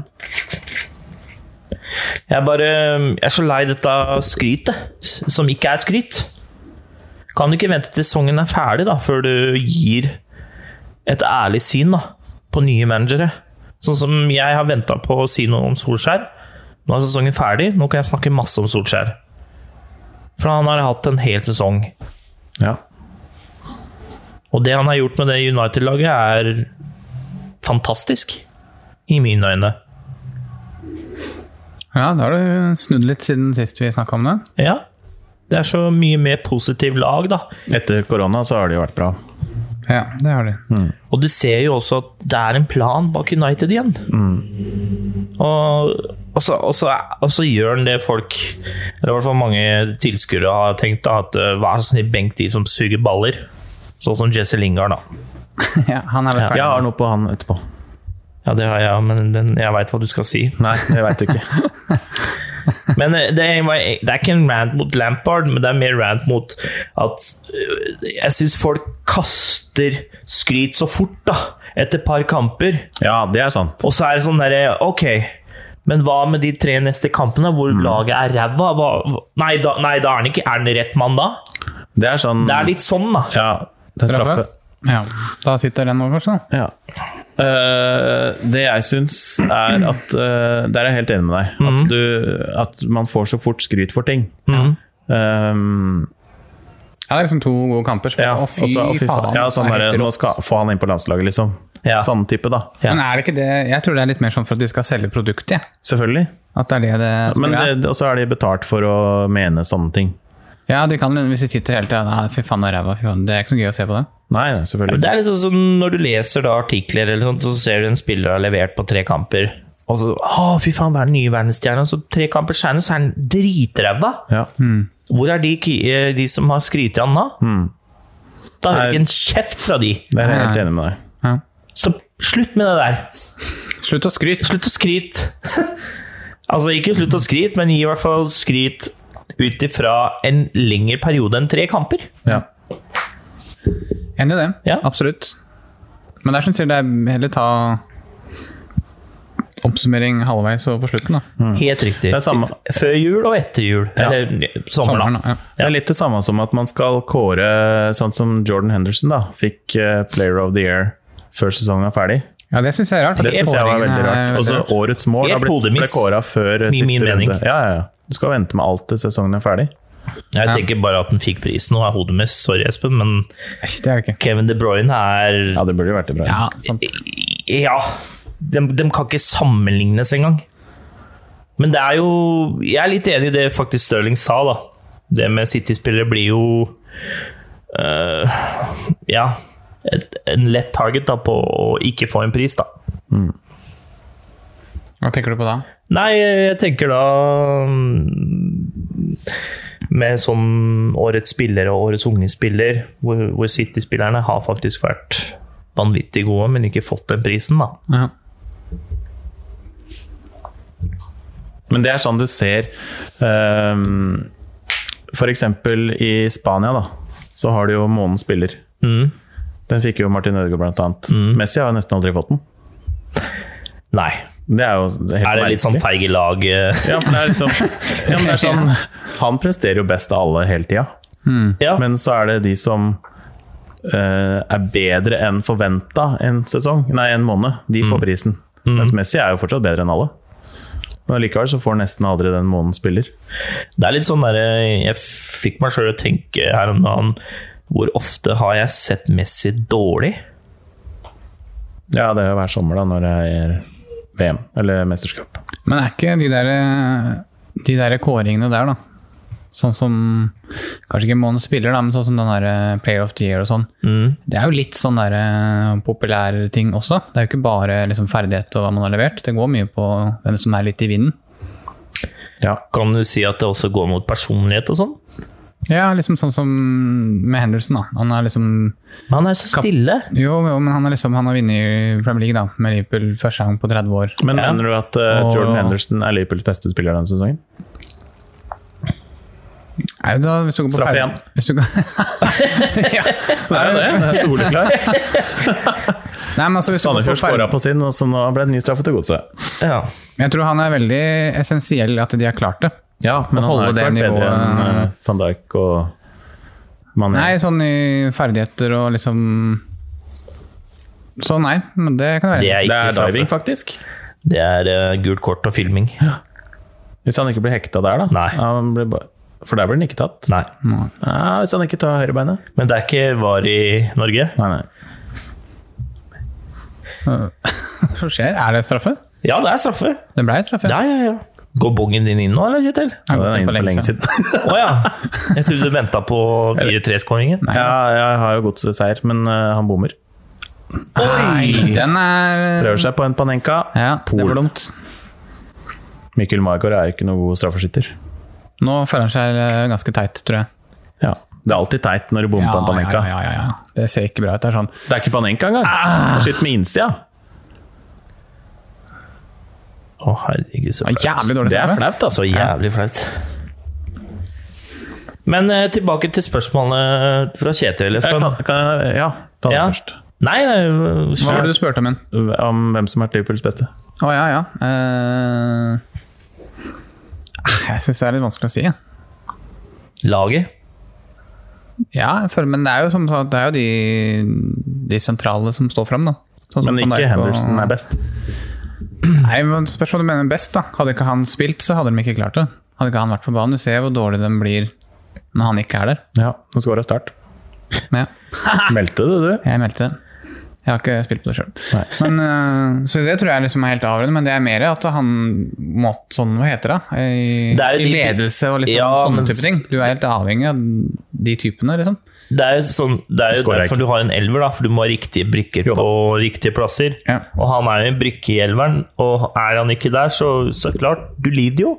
[SPEAKER 2] Jeg er bare Jeg er så lei dette skrytet, s- som ikke er skryt. Kan du ikke vente til sesongen er ferdig, da, før du gir et ærlig syn da, på nye managere? Sånn som jeg har venta på å si noe om Solskjær. Nå er sesongen ferdig, nå kan jeg snakke masse om Solskjær. For han har hatt en hel sesong.
[SPEAKER 1] ja.
[SPEAKER 2] Og det han har gjort med det United-laget, er fantastisk. I mine øyne.
[SPEAKER 4] Ja, da har du snudd litt siden sist vi snakka om det.
[SPEAKER 2] Ja. Det er så mye mer positiv lag, da.
[SPEAKER 1] Etter korona så har det jo vært bra.
[SPEAKER 4] Ja, det har du.
[SPEAKER 2] Og du ser jo også at det er en plan bak United igjen. Og, og, så, og, så, og så gjør han det folk, eller i hvert fall mange tilskuere, har tenkt. da, at eh, Vær så snill, benk de som suger baller. Sånn som Jesse Lingard, da.
[SPEAKER 4] ja, han er vel ferdig.
[SPEAKER 1] Jeg har noe på han etterpå.
[SPEAKER 2] Ja, det har jeg, men den, jeg veit hva du skal si.
[SPEAKER 1] Nei, det veit du ikke.
[SPEAKER 2] Men eh, det er, det er ikke en rant mot Lampard, men det er mer rant mot at øh, Jeg syns folk kaster skryt så fort, da, etter et par kamper.
[SPEAKER 1] Ja, det er sant.
[SPEAKER 2] Og så er det sånn derre Ok, men hva med de tre neste kampene hvor
[SPEAKER 1] Mm.
[SPEAKER 2] laget er ræva? Hva- hva- Nei, da, nei, da er han ikke Er han rett mann da?
[SPEAKER 1] Det er sånn
[SPEAKER 2] Det er litt sånn, da.
[SPEAKER 1] Ja, det er straffe.
[SPEAKER 4] Straffe? Ja. Da sitter den nå, kanskje. da.
[SPEAKER 1] Ja. Eh, det jeg syns, er at eh, Der er jeg helt enig med deg. At, du, at man får så fort skryt for ting.
[SPEAKER 2] Mhm.
[SPEAKER 1] Um,
[SPEAKER 4] Ja, det er liksom to gode kamper. Så.
[SPEAKER 1] ja,
[SPEAKER 4] å,
[SPEAKER 1] og så- å, fy faen. Ja, sånn
[SPEAKER 4] det er
[SPEAKER 1] der,
[SPEAKER 4] helt
[SPEAKER 1] nå
[SPEAKER 4] rått.
[SPEAKER 1] skal få han inn på landslaget, liksom.
[SPEAKER 2] Ja.
[SPEAKER 1] Sånn type, da.
[SPEAKER 2] Ja.
[SPEAKER 4] Men er det ikke det Jeg tror det er litt mer sånn for at de skal selge produktet. jeg.
[SPEAKER 1] Selvfølgelig.
[SPEAKER 4] At det er det
[SPEAKER 1] Men
[SPEAKER 4] det spiller er.
[SPEAKER 1] det- Og så er de betalt for å mene sånne ting.
[SPEAKER 4] Ja, de kan Hvis de sitter hele tida Nei, fy faen, det er ræva. Fy faen. Det er ikke noe gøy å se på det.
[SPEAKER 1] Nei, nei, selvfølgelig.
[SPEAKER 2] Det er liksom som når du leser da artikler, eller sånt, så ser du en spiller har levert på tre kamper. Og så Å, fy faen, hva er den nye verdensstjerna? Så tre kamper senere, så er han dritræva!
[SPEAKER 1] Ja.
[SPEAKER 2] Hvor er de, ki- eh, de som har skrytt av han da? Da
[SPEAKER 1] Mm.
[SPEAKER 2] hører
[SPEAKER 1] Nei.
[SPEAKER 2] jeg ikke en kjeft fra de.
[SPEAKER 1] Det er jeg helt
[SPEAKER 4] Nei.
[SPEAKER 1] enig med deg.
[SPEAKER 4] Ja.
[SPEAKER 2] Så slutt med det der.
[SPEAKER 4] Slutt å skryte.
[SPEAKER 2] Slutt å skryte. altså, ikke slutt å skryte, men gi i hvert fall skryt ut ifra en lengre periode enn tre kamper.
[SPEAKER 1] Ja.
[SPEAKER 4] Enig i det.
[SPEAKER 2] Ja.
[SPEAKER 4] Absolutt. Men det er som du sier, det er heller ta oppsummering halvveis og på slutten, da.
[SPEAKER 2] Helt riktig.
[SPEAKER 1] Mm. Det er samme.
[SPEAKER 2] Før jul og etter jul. Eller sommer, da.
[SPEAKER 4] Sommeren, da. Ja.
[SPEAKER 1] Det er litt det samme som at man skal kåre sånn som Jordan Henderson da, fikk eh, Player of the Year før sesongen er ferdig.
[SPEAKER 4] ja, det syns jeg er rart.
[SPEAKER 1] Det syns jeg var veldig rart. Og så årets mål
[SPEAKER 2] Helt
[SPEAKER 1] har blitt, ble
[SPEAKER 2] hodemiss.
[SPEAKER 1] kåra før
[SPEAKER 2] Min- min
[SPEAKER 1] siste
[SPEAKER 2] mening.
[SPEAKER 1] runde. Ja, ja, ja. Du skal vente med alt til sesongen er ferdig.
[SPEAKER 2] Jeg tenker bare at den fikk prisen og er hodet mitt. Sorry, Espen, men
[SPEAKER 4] Det er det ikke.
[SPEAKER 2] Kevin De Bruyne er
[SPEAKER 1] Ja, det burde jo vært det bra.
[SPEAKER 4] Ja, sant.
[SPEAKER 2] Ja. De, de kan ikke sammenlignes engang. Men det er jo Jeg er litt enig i det faktisk Stirling sa, da. Det med City-spillere blir jo øh, Ja. Et, en lett target da på å ikke få en pris, da.
[SPEAKER 4] Hva tenker du på da?
[SPEAKER 2] Nei, jeg tenker da mm, Med sånn årets spiller og årets unge spiller, hvor, hvor City-spillerne har faktisk vært vanvittig gode, men ikke fått den prisen, da.
[SPEAKER 4] Ja.
[SPEAKER 1] Men det er sånn du ser ehm, For eksempel i Spania, da, så har du jo månens spiller.
[SPEAKER 2] Mm.
[SPEAKER 1] Den fikk jo Martin Ødegaard, blant annet. Messi har jo nesten aldri fått den.
[SPEAKER 2] Nei.
[SPEAKER 1] Det er jo helt
[SPEAKER 2] Er det litt
[SPEAKER 1] merkelig.
[SPEAKER 2] sånn feige lag? eh?
[SPEAKER 1] Ja, for det er liksom ja, men det er sånn, Han presterer jo best av alle hele tida.
[SPEAKER 2] Ja.
[SPEAKER 1] Men så er det de som eh, er bedre enn forventa en sesong, nei, en måned. De
[SPEAKER 2] Mm.
[SPEAKER 1] får prisen. Mens Messi er jo fortsatt bedre enn alle. Men likevel så får nesten aldri den måneden spiller.
[SPEAKER 2] Det er litt sånn der eh, Jeg fikk meg sjøl å tenke her om dagen Hvor ofte har jeg sett Messi dårlig?
[SPEAKER 1] Ja, det er jo hver sommer da, når det er VM eller mesterskap.
[SPEAKER 4] Men er ikke de der, eh, de der kåringene der, da Sånn som Kanskje ikke månedens spiller, da, men sånn som den der eh, Player of the Year og sånn.
[SPEAKER 1] Mm.
[SPEAKER 4] Det er jo litt sånn der eh, populær ting også. Det er jo ikke bare liksom, ferdighet og hva man har levert. Det går mye på hvem som er litt i vinden.
[SPEAKER 1] Ja.
[SPEAKER 2] Kan du si at det også går mot personlighet og sånn?
[SPEAKER 4] Ja, liksom sånn som med Henderson. da. Han er liksom,
[SPEAKER 2] Men han er så stille.
[SPEAKER 4] jo, jo, men han er liksom, han har vunnet i Premier League da, med Liverpool første gang på 30 år.
[SPEAKER 1] Men mener du at eh,
[SPEAKER 4] Og-
[SPEAKER 1] Jordan Henderson er Liverpools beste spiller denne sesongen?
[SPEAKER 4] Nei, da, hvis du går på
[SPEAKER 1] Straffe
[SPEAKER 4] pau-
[SPEAKER 1] igjen.
[SPEAKER 4] Hvis du går,
[SPEAKER 1] Det er jo det. det er soleklar.
[SPEAKER 4] nei, men altså, hvis du går på
[SPEAKER 1] Sandefjord
[SPEAKER 4] pau-
[SPEAKER 1] skåra på sin, og så nå ble det ny straffe til godset.
[SPEAKER 2] Ja.
[SPEAKER 4] Jeg tror han er veldig essensiell i at de har klart det.
[SPEAKER 1] Ja, men
[SPEAKER 4] Å
[SPEAKER 1] han
[SPEAKER 4] holde
[SPEAKER 1] har jo
[SPEAKER 4] det
[SPEAKER 1] ikke vært bedre
[SPEAKER 4] nivået-
[SPEAKER 1] enn eh, van Dijk og Mané.
[SPEAKER 4] Nei, sånn i ferdigheter og liksom Så nei, men det kan
[SPEAKER 2] Det
[SPEAKER 4] være.
[SPEAKER 2] er
[SPEAKER 1] det
[SPEAKER 2] ikke
[SPEAKER 1] er diving,
[SPEAKER 2] straffe.
[SPEAKER 1] faktisk.
[SPEAKER 2] Det er eh, gult kort og filming.
[SPEAKER 1] Hvis han ikke blir hekta der, da.
[SPEAKER 2] Nei.
[SPEAKER 1] Han blir ba- for der blir han ikke tatt.
[SPEAKER 2] Nei.
[SPEAKER 1] Ja, hvis han ikke tar høyrebeinet.
[SPEAKER 2] Men det er ikke var i Norge.
[SPEAKER 1] Nei, nei.
[SPEAKER 4] Hva skjer? Er det straffe?
[SPEAKER 2] Ja, det er straffe.
[SPEAKER 4] Det ble straffe.
[SPEAKER 2] Ja, ja, ja. Går bongen din inn nå, eller, Kjetil?
[SPEAKER 4] Jeg
[SPEAKER 1] Det
[SPEAKER 4] har
[SPEAKER 1] var
[SPEAKER 4] gått inn
[SPEAKER 1] inne
[SPEAKER 4] for lenge siden.
[SPEAKER 2] Å ja. Jeg trodde du venta på 4-3-skåringen.
[SPEAKER 1] Ja, jeg har jo godset seier, men eh, han bommer.
[SPEAKER 2] Oi!
[SPEAKER 4] Den er
[SPEAKER 1] Prøver seg på en Panenka.
[SPEAKER 4] Ja, det
[SPEAKER 1] Pol.
[SPEAKER 4] var dumt.
[SPEAKER 1] Mikkel Margaard er jo ikke noen god straffeskytter.
[SPEAKER 4] Nå føler han seg eh, ganske teit, tror jeg.
[SPEAKER 1] Ja. Det er alltid teit når du bommer på en Panenka.
[SPEAKER 4] ja, ja, ja, ja. Det ser ikke bra ut. Det er sånn
[SPEAKER 1] Det er ikke Panenka engang. Ah. Skyt med innsida.
[SPEAKER 2] Å, herregud, så
[SPEAKER 4] det er
[SPEAKER 2] flaut.
[SPEAKER 4] jævlig dårlig
[SPEAKER 1] Det er
[SPEAKER 4] straffe.
[SPEAKER 1] flaut, altså.
[SPEAKER 2] Så jævlig flaut. Men eh, tilbake til spørsmålet fra Kjetil. eller
[SPEAKER 1] Jeg
[SPEAKER 2] fra-
[SPEAKER 1] kan, kan jeg, ja, ta det
[SPEAKER 2] Ja.
[SPEAKER 1] først.
[SPEAKER 2] Nei, nei, eh,
[SPEAKER 4] Hva var
[SPEAKER 2] sure.
[SPEAKER 4] det du spurte om igjen?
[SPEAKER 1] Om hvem som er Liverpools beste.
[SPEAKER 4] Å ja, ja. Eh, ah, jeg syns det er litt vanskelig å si. jeg.
[SPEAKER 2] laget.
[SPEAKER 4] Ja, jeg føler, men det er jo som sagt, det er jo de, de sentrale som står fram, da. Sånn som
[SPEAKER 1] Men
[SPEAKER 4] Van
[SPEAKER 1] ikke
[SPEAKER 4] Dijk og-
[SPEAKER 1] Henderson er best.
[SPEAKER 4] Nei, men spørs hva du mener best, da. Hadde ikke han spilt, så hadde de ikke klart det. Hadde ikke han vært på banen. Du ser jo hvor dårlig de blir når han ikke er der.
[SPEAKER 1] Ja, Nå skåra Start.
[SPEAKER 4] Men ja,
[SPEAKER 1] Meldte du, du?
[SPEAKER 4] jeg meldte det. Jeg har ikke spilt på det
[SPEAKER 1] Nei.
[SPEAKER 4] sjøl. Så det tror jeg liksom er helt avgjørende, men det er mer at han må sånn, hva heter det? da? I,
[SPEAKER 2] Det er jo
[SPEAKER 4] i
[SPEAKER 2] de-
[SPEAKER 4] ledelse og liksom
[SPEAKER 2] Ja, men
[SPEAKER 4] sånne
[SPEAKER 2] s-
[SPEAKER 4] type ting. Du er helt avhengig av de typene, liksom.
[SPEAKER 2] Det er jo, sånn, det er jo
[SPEAKER 1] Skårer jeg
[SPEAKER 2] derfor
[SPEAKER 1] ikke.
[SPEAKER 2] du har en elver, da, for du må ha riktige brikker
[SPEAKER 1] Jo da.
[SPEAKER 2] på riktige plasser.
[SPEAKER 4] Ja.
[SPEAKER 2] Og han er jo en brikke i elveren, og er han ikke der, så, så klart, du lider jo.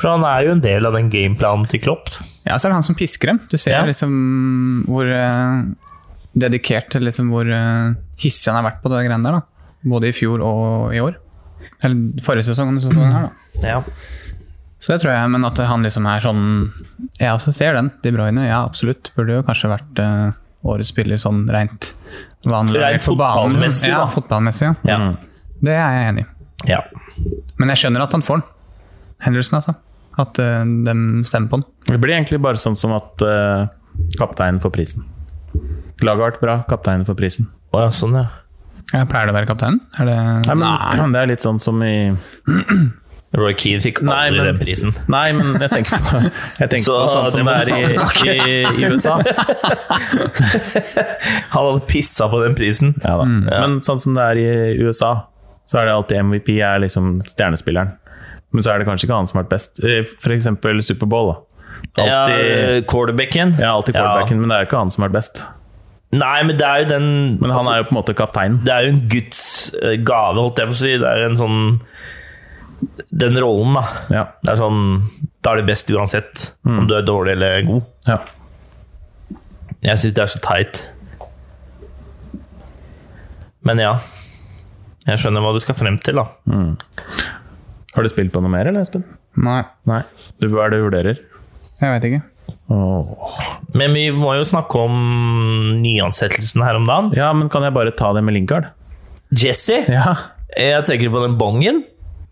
[SPEAKER 2] For han er jo en del av den gameplanen til Klopp.
[SPEAKER 4] Ja, så er det han som pisker dem. Du ser
[SPEAKER 2] Ja.
[SPEAKER 4] liksom hvor eh, dedikert eller liksom hvor eh, hissig han har vært på det greiene der. da. Både i fjor og i år. Eller forrige sesong. og sesongen her, da.
[SPEAKER 2] Ja.
[SPEAKER 4] Så det tror jeg, men at han liksom er sånn Jeg også ser den, De Bruyne. Ja, absolutt. Burde jo kanskje vært eh, årets spiller sånn rent vanlig. liksom.
[SPEAKER 2] Rent fotballmessig,
[SPEAKER 4] ja,
[SPEAKER 2] da.
[SPEAKER 4] fotballmessig, ja.
[SPEAKER 2] Ja.
[SPEAKER 1] Mm.
[SPEAKER 4] Det er jeg enig i.
[SPEAKER 2] ja.
[SPEAKER 4] Men jeg skjønner at han får den. Henderson, altså. At eh, de stemmer på den.
[SPEAKER 1] Det blir egentlig bare sånn som at eh, kapteinen får prisen. Laget har vært bra, kapteinen får prisen.
[SPEAKER 2] Å, ja, sånn, ja.
[SPEAKER 4] Jeg pleier det å være kapteinen. Er det
[SPEAKER 1] Nei, men, Det er litt sånn som i
[SPEAKER 2] Roy Keane fikk aldri
[SPEAKER 1] Nei, men-
[SPEAKER 2] den prisen.
[SPEAKER 1] Nei, men jeg tenker på, jeg tenker
[SPEAKER 2] Så
[SPEAKER 1] på sånn
[SPEAKER 2] det
[SPEAKER 1] som det
[SPEAKER 2] må
[SPEAKER 1] er
[SPEAKER 2] du ta
[SPEAKER 1] i, i, i USA.
[SPEAKER 2] Han hadde pissa på den prisen.
[SPEAKER 1] Ja da. Men sånn som det er i USA, så er det alltid MVP er liksom stjernespilleren. Men så er det kanskje ikke han som har vært best. Eh, For eksempel Superbowl. da. Alltid,
[SPEAKER 2] Ja, eh, quarterbacken.
[SPEAKER 1] ja, alltid quarterbacken, men det er jo ikke han som har vært best.
[SPEAKER 2] Ja. Nei, men det er jo den altså,
[SPEAKER 1] Men han er jo på en måte kapteinen.
[SPEAKER 2] Det er jo en Guds eh, gave, holdt jeg på å si. Det er jo en sånn Den rollen, da.
[SPEAKER 1] Ja.
[SPEAKER 2] Det er sånn Da er det best uansett
[SPEAKER 1] Mm.
[SPEAKER 2] om du er dårlig eller god.
[SPEAKER 1] Ja.
[SPEAKER 2] Jeg syns det er så teit. Men ja. Jeg skjønner hva du skal frem til, da.
[SPEAKER 1] Har du spilt på noe mer, eller, Espen?
[SPEAKER 4] Nei,
[SPEAKER 1] Nei. Du, hva er det du vurderer?
[SPEAKER 4] jeg vet ikke.
[SPEAKER 1] Åh.
[SPEAKER 2] Men vi må jo snakke om nyansettelsen her om dagen.
[SPEAKER 1] Ja, men kan jeg bare ta det med Lingard?
[SPEAKER 2] Jesse!
[SPEAKER 1] Ja.
[SPEAKER 2] Jeg tenker på den bongen.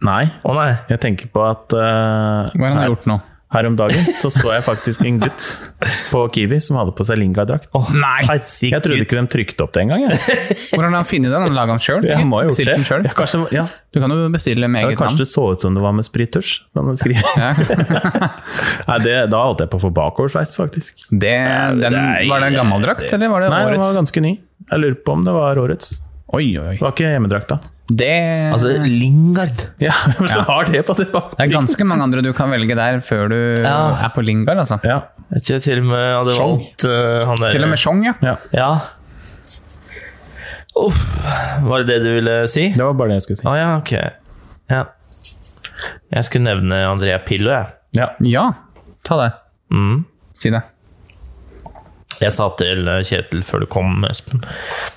[SPEAKER 1] Nei.
[SPEAKER 2] Å nei.
[SPEAKER 1] Jeg tenker på at eh,
[SPEAKER 4] Hva er det han har gjort nå?
[SPEAKER 1] Her om dagen så så jeg faktisk en gutt på Kiwi som hadde på seg Lingard-drakt.
[SPEAKER 4] Nei!
[SPEAKER 2] Herregud.
[SPEAKER 1] Jeg trodde ikke de trykte opp det engang. jeg.
[SPEAKER 4] Hvordan har han funnet den? Han laget den selv,
[SPEAKER 1] Jeg
[SPEAKER 4] sikkert?
[SPEAKER 1] må ha gjort
[SPEAKER 4] Bestilt
[SPEAKER 1] det.
[SPEAKER 4] den selv?
[SPEAKER 1] Ja, kanskje, ja,
[SPEAKER 4] Du kan jo bestille med
[SPEAKER 1] ja,
[SPEAKER 4] eget
[SPEAKER 1] kanskje
[SPEAKER 4] navn.
[SPEAKER 1] det så ut som det var med sprittusj. kan du skrive.
[SPEAKER 4] Ja.
[SPEAKER 1] Nei, det, da holdt jeg på å få bakoversveis, faktisk.
[SPEAKER 4] Det, den,
[SPEAKER 2] Nei,
[SPEAKER 4] var det en gammel drakt,
[SPEAKER 2] det-
[SPEAKER 4] eller var det
[SPEAKER 1] Nei, den
[SPEAKER 4] årets?
[SPEAKER 1] var ganske ny. Jeg lurer på om det var årets.
[SPEAKER 4] Oi, oi,
[SPEAKER 1] Det
[SPEAKER 4] oi.
[SPEAKER 1] var ikke hjemmedrakta.
[SPEAKER 4] Det,
[SPEAKER 2] Altså, Lingard.
[SPEAKER 1] Ja, men så har det på det bak.
[SPEAKER 4] det er ganske mange andre du kan velge der før du
[SPEAKER 2] Ja.
[SPEAKER 4] er på Lingard, altså.
[SPEAKER 1] Ja,
[SPEAKER 2] Jeg tror jeg til og med hadde
[SPEAKER 1] Chong.
[SPEAKER 2] valgt eh, han der
[SPEAKER 4] Til og med Chong, ja.
[SPEAKER 1] ja.
[SPEAKER 2] Ja. Uff, var det det du ville si?
[SPEAKER 1] Det var bare det jeg skulle
[SPEAKER 2] Å
[SPEAKER 1] si.
[SPEAKER 2] ja, ok. Ja. Jeg skulle nevne Andrea Pillo, jeg.
[SPEAKER 1] Ja.
[SPEAKER 4] Ja, ta det.
[SPEAKER 2] Mm.
[SPEAKER 4] Si det.
[SPEAKER 2] Jeg sa til eh, Kjetil før du kom, Espen,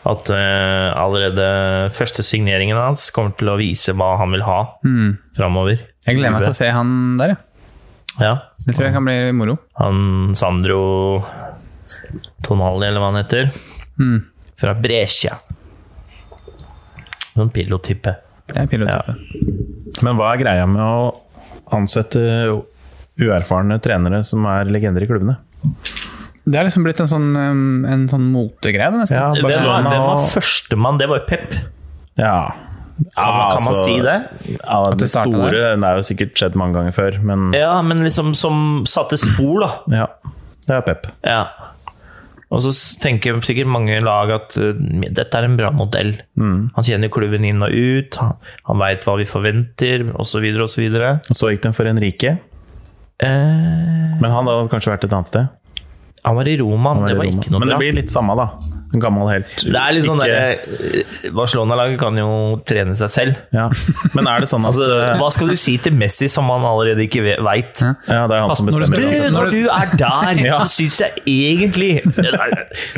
[SPEAKER 2] at eh, allerede første signeringen hans kommer til å vise hva han vil ha
[SPEAKER 4] Mm.
[SPEAKER 2] framover.
[SPEAKER 4] Jeg gleder meg til å se han der, ja.
[SPEAKER 2] Ja.
[SPEAKER 4] Det tror jeg kan bli moro.
[SPEAKER 2] Han Sandro Tonali, eller hva han heter,
[SPEAKER 4] Mm.
[SPEAKER 2] fra Brescia. Sånn pilotype.
[SPEAKER 4] Det er pilottype.
[SPEAKER 1] Men hva er greia med å ansette uerfarne trenere som er legender i klubbene?
[SPEAKER 4] Det er liksom blitt en sånn, um, en sånn motegreie, det, nesten.
[SPEAKER 1] Ja,
[SPEAKER 2] Hvem var,
[SPEAKER 1] Barcelona
[SPEAKER 2] hvem var
[SPEAKER 1] og
[SPEAKER 2] førstemann? Det var jo Pep.
[SPEAKER 1] Ja.
[SPEAKER 2] Kan,
[SPEAKER 1] Ja,
[SPEAKER 2] kan man
[SPEAKER 1] altså,
[SPEAKER 2] si det?
[SPEAKER 1] Ja, det
[SPEAKER 4] det startet
[SPEAKER 1] store Det er jo sikkert skjedd mange ganger før, men
[SPEAKER 2] Ja, men liksom som satte spor, da.
[SPEAKER 1] ja. Det er pep.
[SPEAKER 2] Ja. Og så s- tenker sikkert mange lag at eh, dette er en bra modell.
[SPEAKER 1] Mm.
[SPEAKER 2] Han kjenner klubben inn og ut, han, han veit hva vi forventer, osv., osv.
[SPEAKER 1] Og Så gikk den for Henrique,
[SPEAKER 2] Eh,
[SPEAKER 1] men han hadde kanskje vært et annet sted.
[SPEAKER 2] han var i Roma,
[SPEAKER 1] Han
[SPEAKER 2] men det var
[SPEAKER 1] i Roma.
[SPEAKER 2] ikke noe
[SPEAKER 1] men det
[SPEAKER 2] bra.
[SPEAKER 1] blir litt samme, da. En gammel helt.
[SPEAKER 2] Det er litt sånn
[SPEAKER 1] Ikke-
[SPEAKER 2] der, eh, Barcelona-laget kan jo trene seg selv.
[SPEAKER 1] ja. Men er det sånn at
[SPEAKER 2] Altså, hva skal du si til Messi som han allerede ikke veit?
[SPEAKER 1] Ja, det er han som
[SPEAKER 4] Når du
[SPEAKER 1] bestemmer.
[SPEAKER 2] Du,
[SPEAKER 4] spiller-
[SPEAKER 1] uansett.
[SPEAKER 2] når du er der,
[SPEAKER 1] Ja.
[SPEAKER 2] så syns jeg egentlig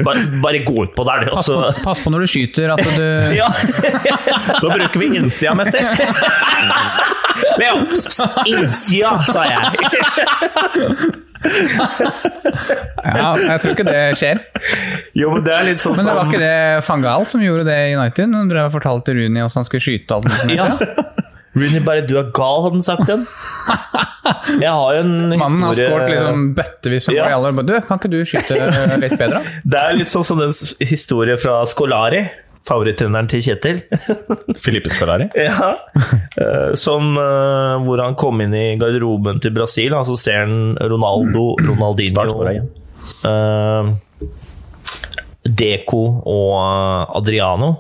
[SPEAKER 2] bare, bare gå ut på der, du.
[SPEAKER 4] Pass,
[SPEAKER 2] Altså.
[SPEAKER 4] på, pass på når du skyter at du
[SPEAKER 2] Ja.
[SPEAKER 1] Så bruker vi innsida mest!
[SPEAKER 2] Leo, Innsida, sa jeg.
[SPEAKER 4] ja, Jeg tror ikke det skjer.
[SPEAKER 2] Jo, men det er litt sånn
[SPEAKER 4] Men det var
[SPEAKER 2] som-
[SPEAKER 4] ikke det Fangal som gjorde det i United? Når dere fortalte Rooney hvordan han skulle skyte og alt mulig sånt.
[SPEAKER 2] Ja. Rooney bare 'du er gal', hadde han sagt den. Jeg har jo en historie
[SPEAKER 4] Mannen har skåret liksom bøttevis med mål i
[SPEAKER 2] Ja.
[SPEAKER 4] alle år. Bare, Du, kan ikke du skyte eh, litt bedre?
[SPEAKER 2] Det er litt sånn som den s- historien fra Scolari, favorittreneren til Kjetil.
[SPEAKER 1] Filippe Scolari.
[SPEAKER 2] Ja. Eh, Som eh, hvor han kom inn i garderoben til Brasil, og så ser han Ronaldo,
[SPEAKER 1] Start på deg
[SPEAKER 2] Ronaldinho
[SPEAKER 1] igjen.
[SPEAKER 2] eh, Deco og eh, Adriano,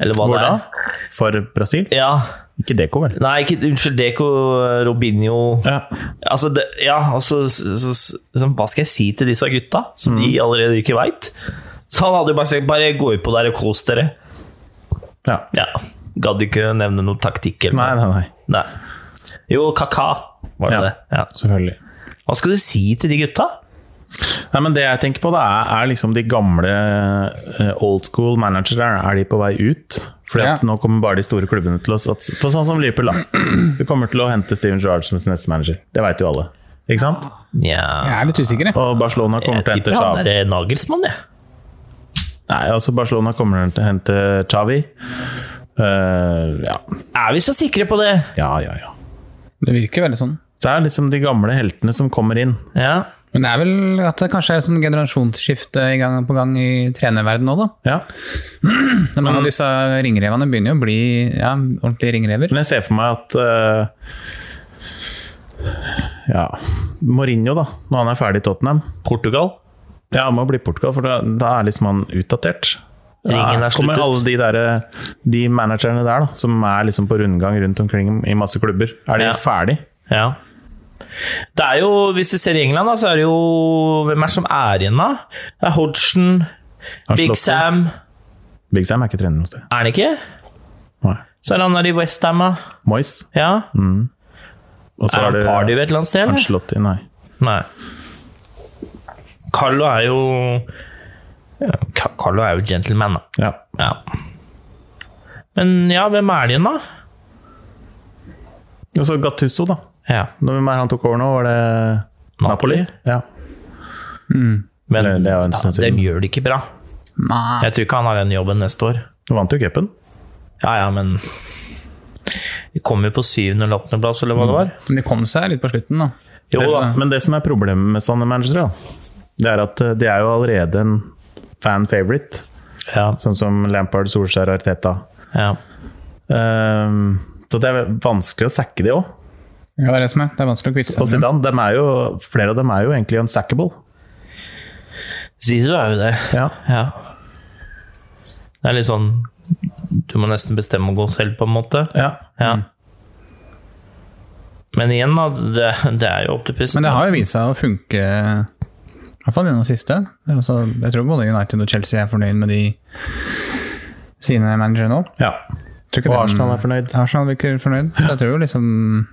[SPEAKER 2] eller hva
[SPEAKER 1] Hvor
[SPEAKER 2] det
[SPEAKER 1] da?
[SPEAKER 2] er.
[SPEAKER 1] For Brasil?
[SPEAKER 2] Ja.
[SPEAKER 1] Ikke Deco, vel?
[SPEAKER 2] Nei, ikke, unnskyld, Deco, eh, Robinho
[SPEAKER 1] Ja.
[SPEAKER 2] Altså, det, ja, altså så, så, så, Hva skal jeg si til disse gutta, som
[SPEAKER 1] Mm.
[SPEAKER 2] de allerede ikke veit? Så han hadde jo bare sagt 'bare gå ut på der og kos dere'.
[SPEAKER 1] ja.
[SPEAKER 2] Ja, Gadd ikke nevne noen taktikk. Eller
[SPEAKER 1] Nei,
[SPEAKER 2] noe.
[SPEAKER 1] nei, nei.
[SPEAKER 2] Nei. Jo, Kaka var det
[SPEAKER 1] Ja.
[SPEAKER 2] det. Ja.
[SPEAKER 1] Selvfølgelig.
[SPEAKER 2] Hva skal du si til de gutta?
[SPEAKER 1] Nei, men Det jeg tenker på, da, er, er liksom de gamle eh, old school managere. Er de på vei ut? Fordi at
[SPEAKER 4] Ja.
[SPEAKER 1] nå kommer bare de store klubbene til oss. At, for sånn som Liverpool, da. Du kommer til å hente Steven Gerrard som sin neste manager. Det veit jo alle. Ikke sant?
[SPEAKER 4] Jeg
[SPEAKER 2] Nja
[SPEAKER 4] er litt usikker, jeg.
[SPEAKER 1] Og Barcelona
[SPEAKER 2] Jeg
[SPEAKER 1] kommer til å hente
[SPEAKER 2] tipper han
[SPEAKER 1] Xavi.
[SPEAKER 2] er Nagelsmann, jeg.
[SPEAKER 1] Nei, altså Barcelona kommer til å hente Xavi. Eh, ja.
[SPEAKER 2] Er vi så sikre på det?
[SPEAKER 1] ja, ja, ja.
[SPEAKER 4] Det virker veldig sånn.
[SPEAKER 1] Det er liksom de gamle heltene som kommer inn.
[SPEAKER 2] Ja.
[SPEAKER 4] Men det er vel at det kanskje er et sånn generasjonsskifte i gang på gang i trenerverdenen òg, da.
[SPEAKER 1] Ja.
[SPEAKER 4] Men mange av disse ringrevene begynner jo å bli ja, ordentlige ringrever.
[SPEAKER 1] Men jeg ser for meg at eh, Ja, Mourinho, da. Når han er ferdig i Tottenham.
[SPEAKER 2] Portugal?
[SPEAKER 1] Ja, han må bli Portugal, for da, da er liksom han utdatert.
[SPEAKER 2] Ringen
[SPEAKER 1] Da
[SPEAKER 2] er
[SPEAKER 1] kommer
[SPEAKER 2] sluttet.
[SPEAKER 1] alle de, der, de managerne der da, som er liksom på rundgang rundt omkring i masse klubber. Er de
[SPEAKER 2] Ja.
[SPEAKER 1] ferdig?
[SPEAKER 2] Ja. Det er jo, hvis du ser i England, da, så er det jo Hvem er det som er igjen, da? Det er Hodgson, Big
[SPEAKER 1] Ancelotti.
[SPEAKER 2] Sam
[SPEAKER 1] Big Sam er ikke trener noe sted.
[SPEAKER 2] Er han ikke?
[SPEAKER 1] Nei.
[SPEAKER 2] Så er han der i Westham, da.
[SPEAKER 1] Moyes.
[SPEAKER 2] Ja.
[SPEAKER 1] Og så
[SPEAKER 2] Er
[SPEAKER 1] er
[SPEAKER 2] han
[SPEAKER 1] det
[SPEAKER 2] Pardy ved et eller annet sted? Eller?
[SPEAKER 1] Ancelotti, nei.
[SPEAKER 2] Nei. Carlo er jo ja, Ka- Carlo er jo gentleman, da.
[SPEAKER 1] Ja.
[SPEAKER 2] Ja. Men ja, hvem er det igjen, da?
[SPEAKER 1] Og så Gattusso, da.
[SPEAKER 2] Ja.
[SPEAKER 1] Når hvem er det han tok over nå? Var det Napoli? Ja.
[SPEAKER 2] Men
[SPEAKER 1] Det- det er jo en
[SPEAKER 2] ja,
[SPEAKER 4] sånn
[SPEAKER 1] stund siden.
[SPEAKER 2] dem gjør det ikke bra.
[SPEAKER 4] Nei.
[SPEAKER 2] Jeg tror ikke han har den jobben neste år.
[SPEAKER 1] Nå vant jo cupen.
[SPEAKER 2] Ja, ja, men Vi kom jo på syvende eller åttende plass, eller hva det var.
[SPEAKER 4] Men de kom seg litt på slutten, da.
[SPEAKER 2] Jo
[SPEAKER 1] Det-
[SPEAKER 2] da.
[SPEAKER 1] Men det som er problemet med sånne managere, da, det er at eh, de er jo allerede en fan favorite.
[SPEAKER 2] Ja,
[SPEAKER 1] Sånn som Lampard, Solskjær og Arteta.
[SPEAKER 2] ja.
[SPEAKER 1] Ehm, så det er vanskelig å sacke de òg.
[SPEAKER 4] Ja, det er det som er. Det er vanskelig å kvitte
[SPEAKER 1] Og
[SPEAKER 4] seg med.
[SPEAKER 1] Zidane, dem er jo, flere av dem er jo egentlig unsackable.
[SPEAKER 2] Zizou er jo det.
[SPEAKER 1] Ja.
[SPEAKER 2] Ja. Det er litt sånn Du må nesten bestemme å gå selv, på en måte.
[SPEAKER 1] ja.
[SPEAKER 2] Ja.
[SPEAKER 4] Mm.
[SPEAKER 2] Men igjen, da. Det, det er jo opp til pusten.
[SPEAKER 4] Men det har jo vist seg å funke, i hvert fall gjennom siste. Det er også- jeg tror både United og Chelsea er fornøyd med de sine managere nå.
[SPEAKER 1] ja.
[SPEAKER 4] Tror ikke
[SPEAKER 1] Og
[SPEAKER 4] dem-
[SPEAKER 1] Arsenal er fornøyd.
[SPEAKER 4] Arsenal virker fornøyd. Så jeg tror jo liksom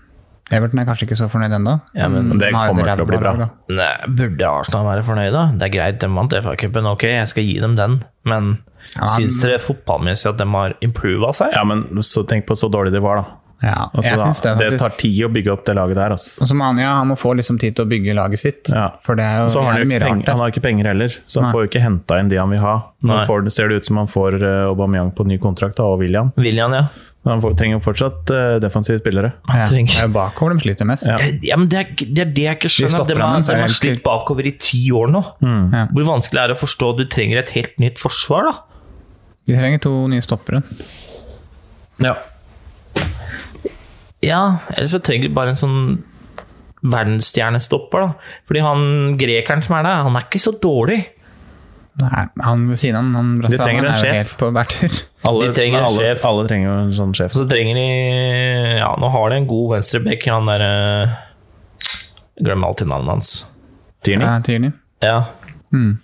[SPEAKER 4] Everton er kanskje ikke så fornøyd ennå.
[SPEAKER 2] Ja, men
[SPEAKER 1] det
[SPEAKER 4] de har jo
[SPEAKER 1] kommer til å
[SPEAKER 4] ræva
[SPEAKER 1] bli bra.
[SPEAKER 4] lag, da.
[SPEAKER 2] Nei, burde Arsenal være fornøyd, da? Det er greit, de vant FA-cupen. Ok, jeg skal gi dem den, men
[SPEAKER 4] Ja, men-
[SPEAKER 2] syns dere fotballmessig at de har improva seg?
[SPEAKER 1] Ja, men så tenk på så dårlig de var, da.
[SPEAKER 4] Ja,
[SPEAKER 1] Altså,
[SPEAKER 4] jeg
[SPEAKER 1] da,
[SPEAKER 4] syns det.
[SPEAKER 1] det,
[SPEAKER 4] faktisk.
[SPEAKER 1] tar tid å bygge opp det laget der. Altså.
[SPEAKER 4] Og så må han, ja, han må få liksom tid til å bygge laget sitt.
[SPEAKER 1] Ja.
[SPEAKER 4] For det er jo
[SPEAKER 1] Så har han,
[SPEAKER 4] det er
[SPEAKER 1] jo
[SPEAKER 4] mye
[SPEAKER 1] ikke penger, han
[SPEAKER 4] rart. da.
[SPEAKER 1] har ikke penger heller, så han
[SPEAKER 4] Nei.
[SPEAKER 1] får jo ikke henta inn de han vil ha. Nå
[SPEAKER 2] Nei.
[SPEAKER 1] får, ser det ut som han får eh, Aubameyang på ny kontrakt da, og William,
[SPEAKER 2] William, ja.
[SPEAKER 1] men han får, trenger jo fortsatt eh, defensive spillere.
[SPEAKER 4] Ja. Det
[SPEAKER 2] trenger-
[SPEAKER 4] er jo bakover de sliter mest.
[SPEAKER 1] Ja.
[SPEAKER 2] Ja, men det er, ikke- det er det jeg ikke
[SPEAKER 4] Vi
[SPEAKER 2] skjønner.
[SPEAKER 4] stopper
[SPEAKER 2] De
[SPEAKER 4] dem,
[SPEAKER 2] har,
[SPEAKER 4] så er
[SPEAKER 2] de
[SPEAKER 4] det
[SPEAKER 2] har
[SPEAKER 4] helt Mm.
[SPEAKER 2] slitt
[SPEAKER 4] stilt.
[SPEAKER 2] bakover i ti år nå.
[SPEAKER 4] Ja.
[SPEAKER 2] Hvor vanskelig er det å forstå at du trenger et helt nytt forsvar, da?
[SPEAKER 4] De trenger to nye stoppere.
[SPEAKER 1] Ja.
[SPEAKER 2] Ja, ellers så trenger du bare en sånn verdensstjernestopper, da. Fordi han grekeren som er der, han er ikke så dårlig.
[SPEAKER 4] Nei, han ved siden av han, han
[SPEAKER 1] De trenger
[SPEAKER 4] brasilianeren,
[SPEAKER 1] en
[SPEAKER 4] er jo
[SPEAKER 1] sjef.
[SPEAKER 4] helt på bærtur.
[SPEAKER 1] Alle,
[SPEAKER 2] De trenger
[SPEAKER 1] men
[SPEAKER 2] en
[SPEAKER 1] alle,
[SPEAKER 2] sjef.
[SPEAKER 1] alle trenger jo en sånn
[SPEAKER 2] Og
[SPEAKER 1] sjef.
[SPEAKER 2] så trenger de Ja, nå har de en god venstrebekk, han derre Jeg Glemmer alltid navnet hans.
[SPEAKER 1] Tierney.
[SPEAKER 4] Ja, Tierney.
[SPEAKER 2] Ja.
[SPEAKER 4] Mm.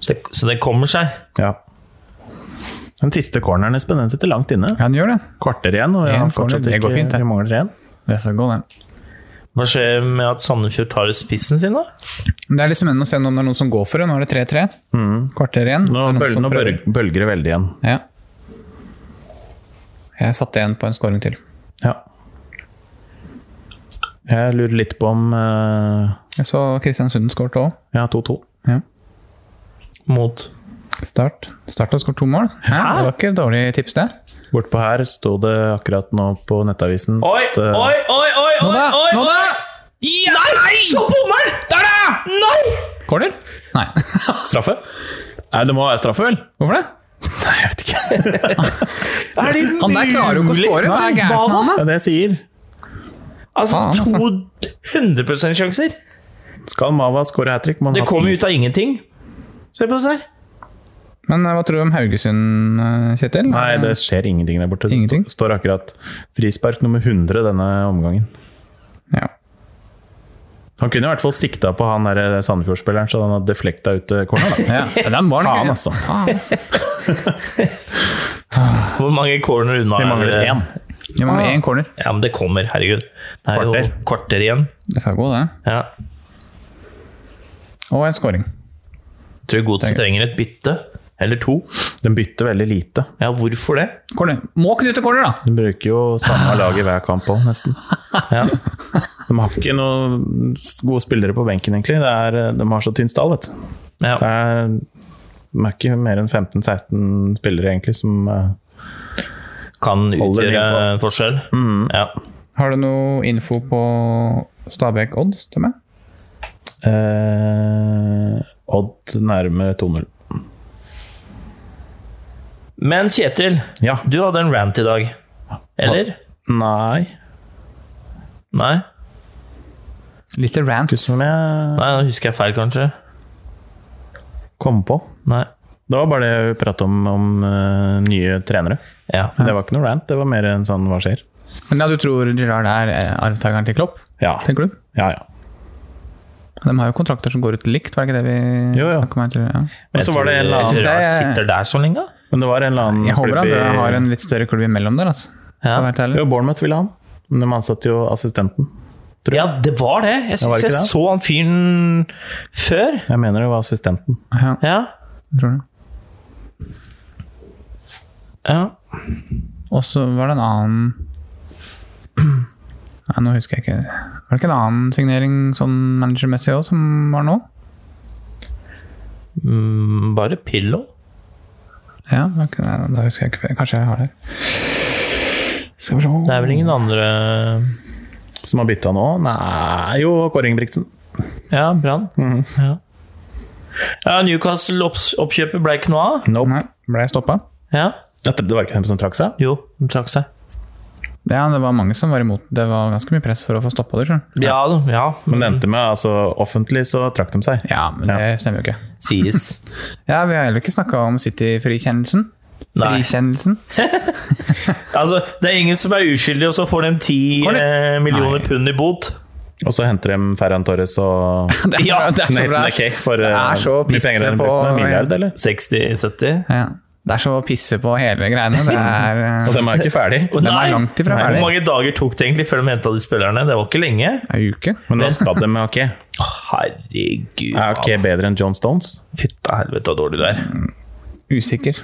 [SPEAKER 2] Så det, så det kommer seg.
[SPEAKER 1] Ja. Den siste corneren, Espen, den sitter langt inne.
[SPEAKER 4] Ja, han gjør det.
[SPEAKER 1] Kvarter igjen, og vi,
[SPEAKER 4] En
[SPEAKER 1] har
[SPEAKER 4] corner,
[SPEAKER 1] fortsatt
[SPEAKER 4] det går
[SPEAKER 1] ikke,
[SPEAKER 4] fint, det.
[SPEAKER 1] vi mangler én.
[SPEAKER 4] Det er så godt, det.
[SPEAKER 2] Hva skjer med at Sandefjord tar spissen sin, da?
[SPEAKER 4] Men Det er liksom ennå å se om det er noen som går for det. Nå er det 3-3. Kvarter igjen.
[SPEAKER 1] Nå,
[SPEAKER 4] Det er noen
[SPEAKER 1] bøl,
[SPEAKER 4] som
[SPEAKER 1] nå
[SPEAKER 4] prøver.
[SPEAKER 1] bølg- bølger det veldig igjen.
[SPEAKER 4] Ja. Jeg satte igjen på en scoring til.
[SPEAKER 1] Ja. Jeg lurer litt på om eh,
[SPEAKER 4] Jeg så Kristiansund skåret òg.
[SPEAKER 1] Ja, 2-2.
[SPEAKER 4] Ja.
[SPEAKER 2] Mot
[SPEAKER 4] Start. Start har skåret to mål. Hæ? Det var ikke et dårlig tips, det.
[SPEAKER 1] Bortpå her sto det akkurat nå på nettavisen
[SPEAKER 2] Oi,
[SPEAKER 1] at,
[SPEAKER 2] oi,
[SPEAKER 1] eh,
[SPEAKER 2] oi, oi, oi!
[SPEAKER 4] Nå da!
[SPEAKER 2] oi,
[SPEAKER 4] Nå da!
[SPEAKER 2] Ja, nei, så bommer han! Der, da! No!
[SPEAKER 4] Corner? Nei.
[SPEAKER 1] Straffe? Nei, det må være straffe, vel?
[SPEAKER 4] Hvorfor det?
[SPEAKER 1] Nei, jeg vet ikke.
[SPEAKER 2] Er det
[SPEAKER 4] Han der klarer jo ikke å
[SPEAKER 2] mulig?
[SPEAKER 4] score. Hva er gærent med han,
[SPEAKER 2] Ah!
[SPEAKER 1] Det er det jeg sier.
[SPEAKER 4] Faen,
[SPEAKER 2] Altså,
[SPEAKER 4] altså.
[SPEAKER 2] 200 sjanser.
[SPEAKER 1] Skal Mava skåre hat trick?
[SPEAKER 2] Det kommer ut av ingenting. Se på det her.
[SPEAKER 4] Men eh, hva tror du om Haugesund, eh, Kjetil?
[SPEAKER 1] Nei, det skjer ingenting der borte.
[SPEAKER 4] Ingenting?
[SPEAKER 1] Det sto- står akkurat frispark nummer 100 denne omgangen.
[SPEAKER 4] Ja.
[SPEAKER 1] Han kunne i hvert fall sikta på han der Sandefjord-spilleren, så han hadde deflekta ut eh, corner. da.
[SPEAKER 4] ja. Den var
[SPEAKER 1] Faen, altså.
[SPEAKER 4] Faen, altså.
[SPEAKER 2] Hvor mange corner unna
[SPEAKER 1] Vi mangler
[SPEAKER 2] er det?
[SPEAKER 1] én.
[SPEAKER 4] Vi mangler én corner.
[SPEAKER 2] Ja, men det kommer, herregud. Det er jo
[SPEAKER 1] Kvarter.
[SPEAKER 2] kvarter igjen.
[SPEAKER 4] Det skal gå, det.
[SPEAKER 2] Ja.
[SPEAKER 4] Og en scoring.
[SPEAKER 2] Jeg Tror Godset trenger et bytte. Eller to.
[SPEAKER 1] Den bytter veldig lite.
[SPEAKER 2] Ja, hvorfor det?
[SPEAKER 4] Corner. Må knytte corner, da!
[SPEAKER 1] Den bruker jo
[SPEAKER 4] Ah.
[SPEAKER 1] samme lag i hver kamp òg, nesten.
[SPEAKER 2] Ja.
[SPEAKER 1] De har ikke noen gode spillere på benken, egentlig. Det er, eh, de har så tynn stall, vet du. Det
[SPEAKER 2] Ja.
[SPEAKER 1] er, de er ikke mer enn 15-16 spillere, egentlig, som eh,
[SPEAKER 2] Kan
[SPEAKER 1] Holder Mm.
[SPEAKER 2] utgjøre
[SPEAKER 1] nivå.
[SPEAKER 2] en forskjell. Ja.
[SPEAKER 4] Har du noe info på Stabæk odds til meg?
[SPEAKER 1] eh, Odd nærme 2-0.
[SPEAKER 2] Men Kjetil,
[SPEAKER 1] Ja.
[SPEAKER 2] du hadde en rant i dag. Eller?
[SPEAKER 1] Nei
[SPEAKER 2] Nei?
[SPEAKER 4] Litt rant.
[SPEAKER 1] Ikke som jeg
[SPEAKER 2] Nei, da husker jeg feil, kanskje.
[SPEAKER 1] kom på.
[SPEAKER 2] Nei.
[SPEAKER 1] Det var bare det vi pratet om, om eh, nye trenere.
[SPEAKER 2] Ja.
[SPEAKER 1] Det var ikke noe rant, det var mer en sånn hva skjer?
[SPEAKER 4] Men ja, du tror Girard er eh, arvtakeren til Klopp?
[SPEAKER 1] Ja,
[SPEAKER 4] Tenker du?
[SPEAKER 1] ja. ja.
[SPEAKER 4] De har jo kontrakter som går ut likt, var det ikke det vi
[SPEAKER 1] Jo, ja.
[SPEAKER 4] snakket om? her tidligere?
[SPEAKER 1] Men så var det en eller
[SPEAKER 2] Jeg
[SPEAKER 1] annen
[SPEAKER 2] synes
[SPEAKER 4] det
[SPEAKER 2] jeg
[SPEAKER 4] er-
[SPEAKER 2] sitter der så lenge. da.
[SPEAKER 1] Men det var en eller annen
[SPEAKER 4] Ja. Jeg håper
[SPEAKER 1] klubb
[SPEAKER 4] at
[SPEAKER 1] i-
[SPEAKER 4] dere har en litt større klubb imellom der, altså. For å være
[SPEAKER 2] Ja.
[SPEAKER 4] helt ærlig.
[SPEAKER 1] Jo, Bournemouth ville han, men de ansatte jo assistenten.
[SPEAKER 2] ja, det var det. Jeg
[SPEAKER 1] var
[SPEAKER 2] syns
[SPEAKER 1] det
[SPEAKER 2] jeg
[SPEAKER 1] ikke det?
[SPEAKER 2] så han fyren før.
[SPEAKER 1] Jeg mener det var assistenten.
[SPEAKER 4] Ja,
[SPEAKER 2] Ja.
[SPEAKER 4] jeg tror det.
[SPEAKER 2] ja.
[SPEAKER 4] Og så var det en annen Nei, nå husker jeg ikke. Var det ikke en annen signering sånn managermessig òg som var nå?
[SPEAKER 2] Mm, Bare Pillow.
[SPEAKER 4] Ja, det var ikke- nei, da husker jeg ikke. Kanskje jeg har det. Skal vi se
[SPEAKER 2] Det er vel ingen andre
[SPEAKER 1] Som har bytta nå? Nei, jo, Kåre Ingebrigtsen.
[SPEAKER 2] Ja, Brann. ja. ja, Newcastle-oppkjøpet ble ikke noe av.
[SPEAKER 1] Nope.
[SPEAKER 4] Nei, ble jeg stoppa?
[SPEAKER 2] Ja.
[SPEAKER 1] Jeg trodde det var ikke dem som trakk seg.
[SPEAKER 2] Jo, de trakk seg.
[SPEAKER 4] Ja, det var mange som var imot. Det var ganske mye press for å få stoppa det. skjønner du.
[SPEAKER 2] Ja da, ja.
[SPEAKER 1] Men det endte med altså, offentlig så trakk de seg.
[SPEAKER 4] Ja, men det stemmer jo ikke.
[SPEAKER 2] sies.
[SPEAKER 4] Ja, Vi har heller ikke snakka om City-frikjennelsen.
[SPEAKER 2] Nei.
[SPEAKER 4] Frikjennelsen.
[SPEAKER 2] Altså, det er ingen som er uskyldig, og så får de ti
[SPEAKER 4] Får de?
[SPEAKER 2] eh, millioner
[SPEAKER 4] Nei.
[SPEAKER 2] pund i bot.
[SPEAKER 1] Og så henter de Ferran Torres og
[SPEAKER 4] Det er,
[SPEAKER 2] Ja,
[SPEAKER 4] det er så
[SPEAKER 1] Nathan
[SPEAKER 4] bra.
[SPEAKER 1] Ake for
[SPEAKER 4] er
[SPEAKER 1] eh,
[SPEAKER 4] så
[SPEAKER 1] mye penger
[SPEAKER 4] pisse
[SPEAKER 1] enn
[SPEAKER 4] på-
[SPEAKER 1] brukte. En milliard, eller?
[SPEAKER 2] 60-70.
[SPEAKER 4] Ja. Det er så å pisse på hele greiene. Det er, eh,
[SPEAKER 1] Og de er ikke ferdig.
[SPEAKER 2] Og
[SPEAKER 4] Den er
[SPEAKER 2] nei,
[SPEAKER 4] langt ifra
[SPEAKER 2] nei,
[SPEAKER 4] ferdig.
[SPEAKER 2] Hvor mange dager tok det egentlig før de henta de spillerne? Det var ikke lenge.
[SPEAKER 4] det er uke.
[SPEAKER 1] Men hva skal de med Ake?
[SPEAKER 2] Herregud.
[SPEAKER 1] Er Ake bedre enn John Stones?
[SPEAKER 2] Fytta helvete så dårlig du er.
[SPEAKER 4] Usikker.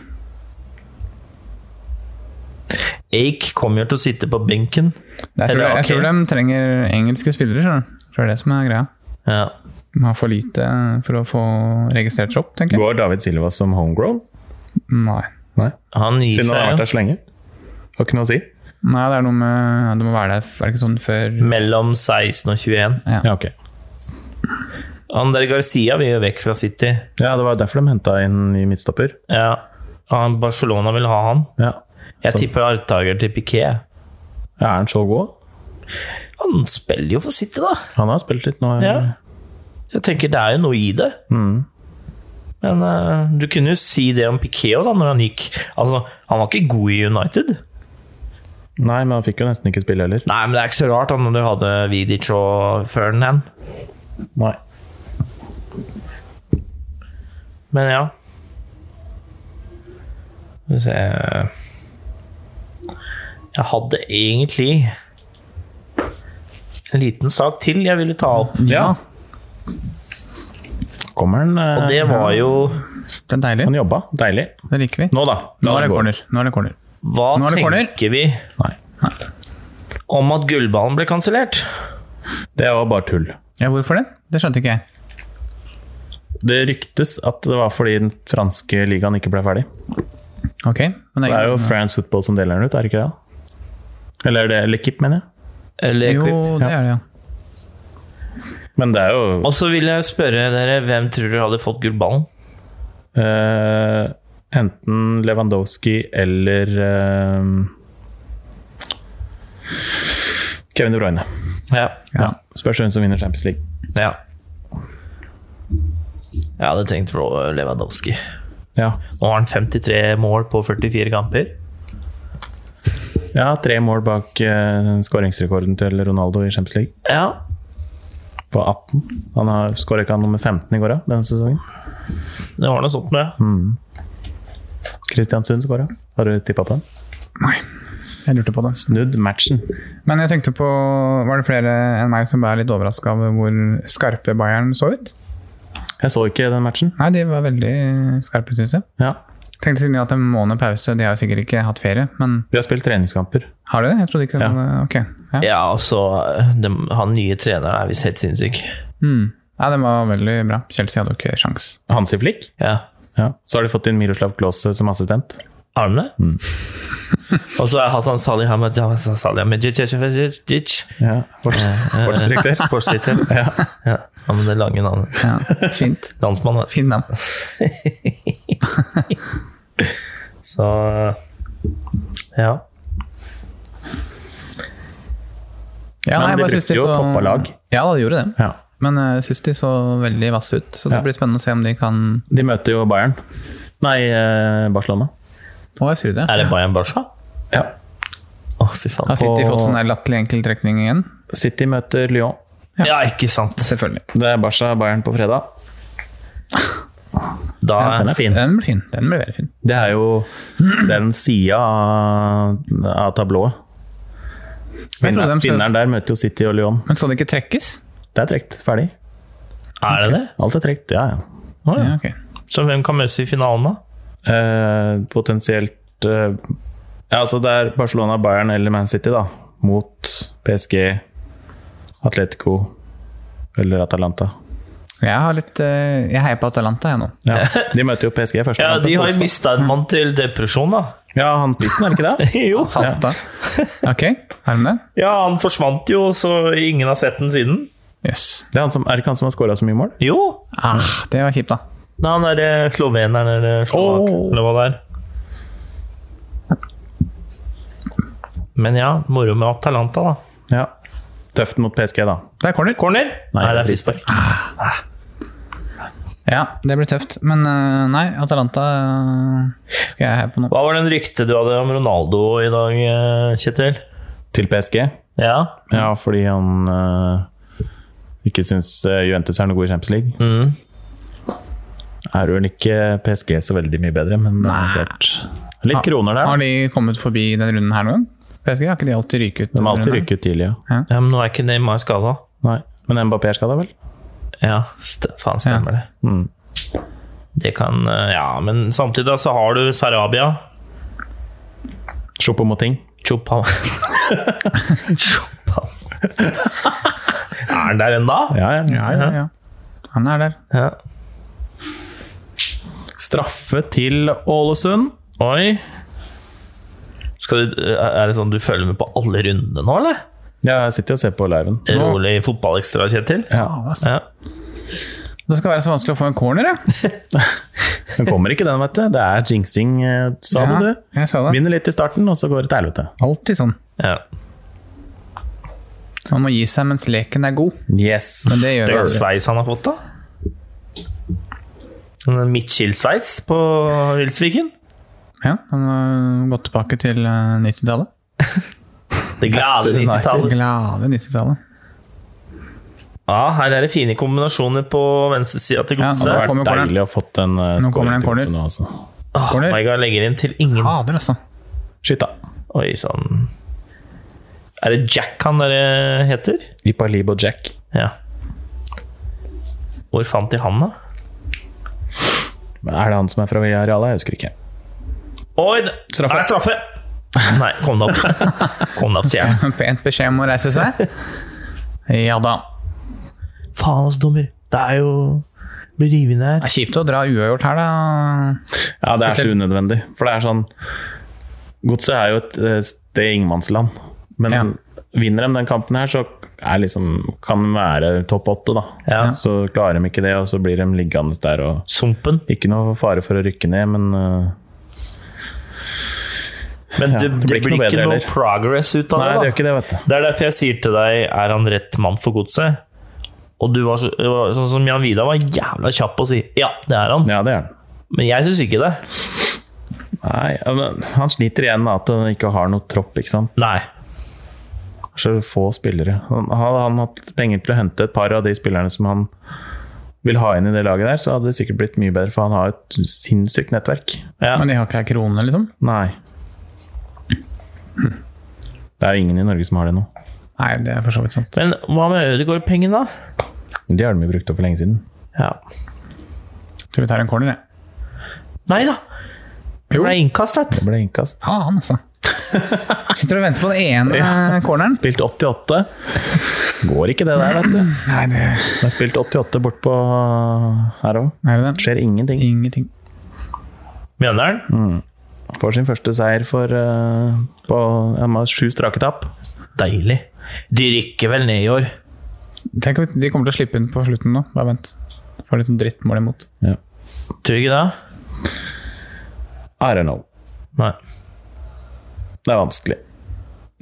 [SPEAKER 2] Ake kommer jo til å sitte på benken.
[SPEAKER 4] Det er, tror
[SPEAKER 2] Eller,
[SPEAKER 4] jeg, jeg
[SPEAKER 2] ok.
[SPEAKER 4] tror de trenger engelske spillere, skjønner du. Tror det er det som er greia.
[SPEAKER 2] Ja.
[SPEAKER 4] De har for lite for å få registrert seg opp, tenker jeg.
[SPEAKER 1] Går David Silva som homegrown?
[SPEAKER 4] Nei.
[SPEAKER 1] Nei.
[SPEAKER 2] Han gir
[SPEAKER 1] Siden han har vært
[SPEAKER 2] seg jo.
[SPEAKER 1] der så lenge? Har ikke noe å si?
[SPEAKER 4] Nei, det er noe med Det må være der, er det ikke sånn før
[SPEAKER 2] mellom 16 og 21.
[SPEAKER 1] Ja, ok.
[SPEAKER 2] Han der Garcia vil jo vekk fra City.
[SPEAKER 1] Ja, det var derfor de henta inn i midtstopper.
[SPEAKER 2] Ja. Han, Barcelona vil ha han.
[SPEAKER 1] Ja.
[SPEAKER 2] Jeg
[SPEAKER 1] Så-
[SPEAKER 2] tipper arvtaker til Piquet.
[SPEAKER 1] Er han så god?
[SPEAKER 2] Han spiller jo for City, da.
[SPEAKER 1] Han har spilt litt nå.
[SPEAKER 2] Ja. Så jeg tenker det er jo noe i det. Mm. Men eh, du kunne jo si det om Piquet også, da, når han gikk. Altså, han var ikke god i United.
[SPEAKER 1] Nei, men han fikk jo nesten ikke spille heller.
[SPEAKER 2] Nei, men det er ikke så rart da, når du hadde Vidic og Ferdinand.
[SPEAKER 1] Nei.
[SPEAKER 2] Men ja. Skal vi se Jeg hadde egentlig en liten sak til jeg ville ta opp.
[SPEAKER 1] Ja. Kommer han eh,
[SPEAKER 2] Og det var jo
[SPEAKER 4] Det er deilig.
[SPEAKER 1] Han jobba. Deilig.
[SPEAKER 4] Det liker vi.
[SPEAKER 1] Nå, da.
[SPEAKER 4] Nå
[SPEAKER 1] La
[SPEAKER 4] er
[SPEAKER 1] det
[SPEAKER 4] det
[SPEAKER 1] gå.
[SPEAKER 4] corner. Nå er det corner.
[SPEAKER 2] Hva
[SPEAKER 4] Nå er det corner.
[SPEAKER 2] tenker vi
[SPEAKER 1] Nei.
[SPEAKER 2] om at gullballen ble kansellert?
[SPEAKER 1] Det var bare tull.
[SPEAKER 4] Ja, hvorfor det? Det skjønte ikke jeg.
[SPEAKER 1] Det ryktes at det var fordi den franske ligaen ikke ble ferdig.
[SPEAKER 4] Ok, men det
[SPEAKER 1] Det er jo France Football som deler den ut, er det ikke det? Eller er det Lekip, mener jeg.
[SPEAKER 2] Eller
[SPEAKER 4] Jo, det er det, ja.
[SPEAKER 1] Men det er jo
[SPEAKER 2] Og så vil jeg spørre dere, hvem tror dere hadde fått gullballen?
[SPEAKER 1] eh, enten Lewandowski eller eh, Kevin De Bruyne.
[SPEAKER 2] Ja.
[SPEAKER 4] ja.
[SPEAKER 1] Spørs hvem som vinner Champions League.
[SPEAKER 2] ja. Jeg hadde tenkt Ro- Lewandowski.
[SPEAKER 1] Ja,
[SPEAKER 2] Nå har han 53 mål på 44 kamper.
[SPEAKER 1] ja tre mål bak eh, skåringsrekorden til Ronaldo i Champions League.
[SPEAKER 2] Ja,
[SPEAKER 1] På 18. Han har skåra ikke han nummer 15 i går, da, denne sesongen.
[SPEAKER 2] det var noe sånt med.
[SPEAKER 4] Mm.
[SPEAKER 1] Kristiansund skåra. Har du tippa på den?
[SPEAKER 4] Nei, jeg lurte på det.
[SPEAKER 1] Snudd matchen.
[SPEAKER 4] Men jeg tenkte på Var det flere enn meg som ble litt overraska over hvor skarpe Bayern så ut?
[SPEAKER 1] Jeg så ikke den matchen.
[SPEAKER 4] Nei, de var veldig skarpe, syns jeg.
[SPEAKER 1] Ja.
[SPEAKER 4] Tenkte siden de har hatt en måned pause, de har jo sikkert ikke hatt ferie, men
[SPEAKER 1] Vi har spilt treningskamper.
[SPEAKER 4] har de det? Jeg trodde ikke det var Ok. Ja.
[SPEAKER 2] Ja, altså, dem- han nye treneren er visst helt sinnssyk.
[SPEAKER 4] Mm. Nei, den var veldig bra. Chelsea hadde jo ikke sjans.
[SPEAKER 1] Hansi Flick.
[SPEAKER 2] Ja.
[SPEAKER 1] Ja. Så har de fått inn Miroslav Klause som assistent.
[SPEAKER 2] Har han det?
[SPEAKER 4] Mm.
[SPEAKER 2] Og så er Hassan Salih Hamad Hassan Salih Hamadic
[SPEAKER 1] Ja. Sports, sportsdirektør.
[SPEAKER 2] Sportsdirektør. Ja. ja. Han med det lange navnet.
[SPEAKER 4] Ja, fint.
[SPEAKER 2] Landsmann, vet du.
[SPEAKER 4] Finn dem.
[SPEAKER 2] Så Ja.
[SPEAKER 4] Ja,
[SPEAKER 1] Men
[SPEAKER 4] nei, jeg
[SPEAKER 1] de
[SPEAKER 4] bare synes
[SPEAKER 1] brukte jo toppa lag.
[SPEAKER 4] Ja, de gjorde det.
[SPEAKER 1] Ja.
[SPEAKER 4] Men jeg syns de så veldig vasse ut, så det
[SPEAKER 1] Ja.
[SPEAKER 4] blir spennende å se om de kan
[SPEAKER 1] De møter jo Bayern. Nei, eh, Barcelona.
[SPEAKER 4] Å, jeg sier det.
[SPEAKER 2] Er det Bayern Barca?
[SPEAKER 1] Ja.
[SPEAKER 2] Å, fy faen.
[SPEAKER 4] Har City fått sånn der latterlig enkeltrekning igjen?
[SPEAKER 1] City møter Lyon.
[SPEAKER 2] Ja, ikke sant.
[SPEAKER 4] Selvfølgelig.
[SPEAKER 1] Det er Barca-Bayern på fredag.
[SPEAKER 2] Da
[SPEAKER 1] Den er fin.
[SPEAKER 4] Den blir fin. Den blir veldig fin.
[SPEAKER 1] Det er jo den sida av, av tablået.
[SPEAKER 4] Jeg trodde
[SPEAKER 1] Vinneren,
[SPEAKER 4] de skulle-
[SPEAKER 1] vinneren der møter jo City og Lyon.
[SPEAKER 4] Men så det ikke trekkes?
[SPEAKER 1] Det er trekt. Ferdig.
[SPEAKER 2] er det det.
[SPEAKER 1] Alt er trekt, ja ja.
[SPEAKER 2] Å,
[SPEAKER 4] Ja,
[SPEAKER 2] ja.
[SPEAKER 4] ok.
[SPEAKER 2] Så hvem kan møtes i finalen, da?
[SPEAKER 1] Eh, potensielt eh, ja, altså Det er Barcelona, Bayern eller Man City da mot PSG, Atletico eller Atalanta.
[SPEAKER 4] Jeg har litt eh, Jeg heier på Atalanta, jeg nå.
[SPEAKER 1] Ja, de møter jo PSG først.
[SPEAKER 2] Ja, De har jo
[SPEAKER 1] Onsdag.
[SPEAKER 2] mista en mann til depresjon, da.
[SPEAKER 1] ja, han Pissen, er det ikke det?
[SPEAKER 2] jo.
[SPEAKER 4] Fanta. Ok, har de det?
[SPEAKER 2] Ja, han forsvant jo, så ingen har sett den siden.
[SPEAKER 4] Jøss.
[SPEAKER 1] Det er, han som, er det ikke han som har skåra så mye mål?
[SPEAKER 2] Jo.
[SPEAKER 4] Ah, det var kjipt, da.
[SPEAKER 2] Nei, han er eh, sloveneren eller slovak,
[SPEAKER 1] Åh.
[SPEAKER 2] eller hva det er. Men ja, moro med Atalanta, da.
[SPEAKER 1] Ja. Tøft mot PSG, da.
[SPEAKER 4] Det er corner.
[SPEAKER 2] Corner? Nei, det er frispark.
[SPEAKER 4] Ja, det blir tøft. Men eh, nei, Atalanta eh, skal jeg heie på nå.
[SPEAKER 2] Hva var den ryktet du hadde om Ronaldo i dag, eh, Kjetil?
[SPEAKER 1] Til PSG.
[SPEAKER 2] Ja.
[SPEAKER 1] Ja, fordi han
[SPEAKER 4] Mm.
[SPEAKER 1] eh, ikke syns eh, Juventus er noe god i Champions League.
[SPEAKER 2] Mm.
[SPEAKER 1] er vel ikke PSG så veldig mye bedre, men det er klart. Litt kroner der.
[SPEAKER 4] Har
[SPEAKER 1] da.
[SPEAKER 4] de kommet forbi den runden her noen gang? PSG har ikke de alltid ryket ut?
[SPEAKER 1] De
[SPEAKER 4] denne
[SPEAKER 1] har alltid
[SPEAKER 4] runden her?
[SPEAKER 1] rykket tidlig, ja.
[SPEAKER 2] Ja, men nå er ikke Neymar skada.
[SPEAKER 1] Nei. Men Mbappé skal da vel?
[SPEAKER 2] Ja, st faen stemmer det.
[SPEAKER 1] Mm.
[SPEAKER 2] Det kan eh, Ja, men samtidig da, så har du Sarabia.
[SPEAKER 1] Shoppe mot ting.
[SPEAKER 2] Chopin Chopin Er han der ennå?
[SPEAKER 1] Ja, ja.
[SPEAKER 4] Ja, ja, ja. Han er der.
[SPEAKER 2] Ja.
[SPEAKER 1] Straffe til Ålesund.
[SPEAKER 2] Oi. Skal du, er det sånn du følger med på alle rundene nå, eller?
[SPEAKER 1] Ja, jeg sitter og ser på liven.
[SPEAKER 2] Rolig fotballekstra, Kjetil?
[SPEAKER 1] Ja,
[SPEAKER 2] Ja.
[SPEAKER 4] Ah, altså. Det skal være så vanskelig å få en corner, ja.
[SPEAKER 1] Den kommer ikke, den, vet du. Det er jinxing, eh, sa
[SPEAKER 4] ja
[SPEAKER 1] du. du.
[SPEAKER 4] jeg sa det.
[SPEAKER 1] Vinner litt i starten, og så går det til helvete.
[SPEAKER 4] Alltid sånn.
[SPEAKER 2] ja.
[SPEAKER 4] Man må gi seg mens leken er god.
[SPEAKER 1] Yes.
[SPEAKER 4] Men det gjør
[SPEAKER 2] Det er jo
[SPEAKER 4] jeg. aldri.
[SPEAKER 2] sveis han har fått, da. En Midtskill-sveis på Hylsviken.
[SPEAKER 4] Ja, han har gått tilbake til eh, 90-tallet.
[SPEAKER 2] Det glade
[SPEAKER 1] United.
[SPEAKER 2] 90-tallet.
[SPEAKER 4] Glade 90-tallet.
[SPEAKER 2] Ja, her er det fine kombinasjoner på venstresida til
[SPEAKER 4] Ja,
[SPEAKER 1] Det
[SPEAKER 2] godset.
[SPEAKER 4] nå
[SPEAKER 1] har
[SPEAKER 4] kommer
[SPEAKER 1] vært
[SPEAKER 4] corneren.
[SPEAKER 1] deilig å ha fått en uh,
[SPEAKER 4] Nå kommer det en corner.
[SPEAKER 1] Nå, altså.
[SPEAKER 2] Åh,
[SPEAKER 4] corner.
[SPEAKER 2] Veigar legger inn til ingen.
[SPEAKER 4] Fader, altså.
[SPEAKER 1] Skyt, da.
[SPEAKER 2] Oi sann. Er det Jack han der eh, heter?
[SPEAKER 1] Ipalibo Jack.
[SPEAKER 2] Ja. Hvor fant de han, da?
[SPEAKER 1] Men Er det han som er fra Villarreal? Jeg husker ikke.
[SPEAKER 2] Oi! det-
[SPEAKER 1] Straffe.
[SPEAKER 2] Er det straffe! Nei, kom deg opp. Kom deg opp, sier jeg.
[SPEAKER 4] Pent beskjed om å reise seg. Ja da.
[SPEAKER 2] Faen, altså, dommer. Det er jo Blir revet ned
[SPEAKER 4] Det
[SPEAKER 2] her.
[SPEAKER 4] er kjipt å dra uavgjort her, da.
[SPEAKER 1] Ja, det er så unødvendig. For det er sånn Godset er jo et eh, sted i ingenmannsland. Men
[SPEAKER 4] Ja.
[SPEAKER 1] vinner de den kampen her, så er liksom, kan de være topp åtte, da.
[SPEAKER 2] Ja.
[SPEAKER 1] Så klarer de ikke det, og så blir de liggende der og
[SPEAKER 2] Sumpen.
[SPEAKER 1] Ikke noe fare for å rykke ned, men eh,
[SPEAKER 2] Men
[SPEAKER 1] Ja,
[SPEAKER 2] det, det blir ikke noe,
[SPEAKER 1] bedre heller.
[SPEAKER 2] progress ut av
[SPEAKER 1] Nei, det
[SPEAKER 2] det.
[SPEAKER 1] gjør
[SPEAKER 2] da.
[SPEAKER 1] ikke det, vet du.
[SPEAKER 2] Det er derfor jeg sier til deg Er han rett mann for godset? Og du var så, det var sånn som Jan Vidar var jævla kjapp å si ja, det er han.
[SPEAKER 1] Ja, det er han.
[SPEAKER 2] Men jeg syns ikke det.
[SPEAKER 1] Nei, ja, men han sliter igjen med at han ikke har noe tropp, ikke sant.
[SPEAKER 2] Nei.
[SPEAKER 1] Så få spillere. Han, hadde han hatt penger til å hente et par av de spillerne som han vil ha inn i det laget der, så hadde det sikkert blitt mye bedre, for han har et sinnssykt nettverk.
[SPEAKER 2] Ja.
[SPEAKER 4] Men de har ikke ei krone, liksom.
[SPEAKER 1] Nei. Det er jo ingen i Norge som har det nå.
[SPEAKER 4] Nei, det er for så vidt sant.
[SPEAKER 2] Men hva med Ødegaard-pengene, da?
[SPEAKER 1] De har de jo brukt opp for lenge siden.
[SPEAKER 2] Ja.
[SPEAKER 4] Tror vi tar en corner, jeg.
[SPEAKER 2] Nei da! Det
[SPEAKER 4] Jo.
[SPEAKER 2] ble innkastet.
[SPEAKER 1] Det ble innkast.
[SPEAKER 4] Faen, altså. Sitter og venter på den ene corneren.
[SPEAKER 1] Spilt 88. Går ikke det der, vet du.
[SPEAKER 4] Nei, det
[SPEAKER 1] Det er spilt 88 bort på her òg.
[SPEAKER 4] er det.
[SPEAKER 1] Skjer ingenting.
[SPEAKER 4] Ingenting.
[SPEAKER 2] Mjøndalen?
[SPEAKER 1] Får sin første seier for eh, på, ja, med sju strake tap.
[SPEAKER 2] Deilig. De rykker vel ned i år.
[SPEAKER 4] Tenk om de kommer til å slippe inn på slutten nå. Bare vent. Får litt sånn drittmål imot.
[SPEAKER 1] Ja.
[SPEAKER 2] Tror du ikke det?
[SPEAKER 1] I don't know.
[SPEAKER 2] Nei.
[SPEAKER 1] Det er vanskelig.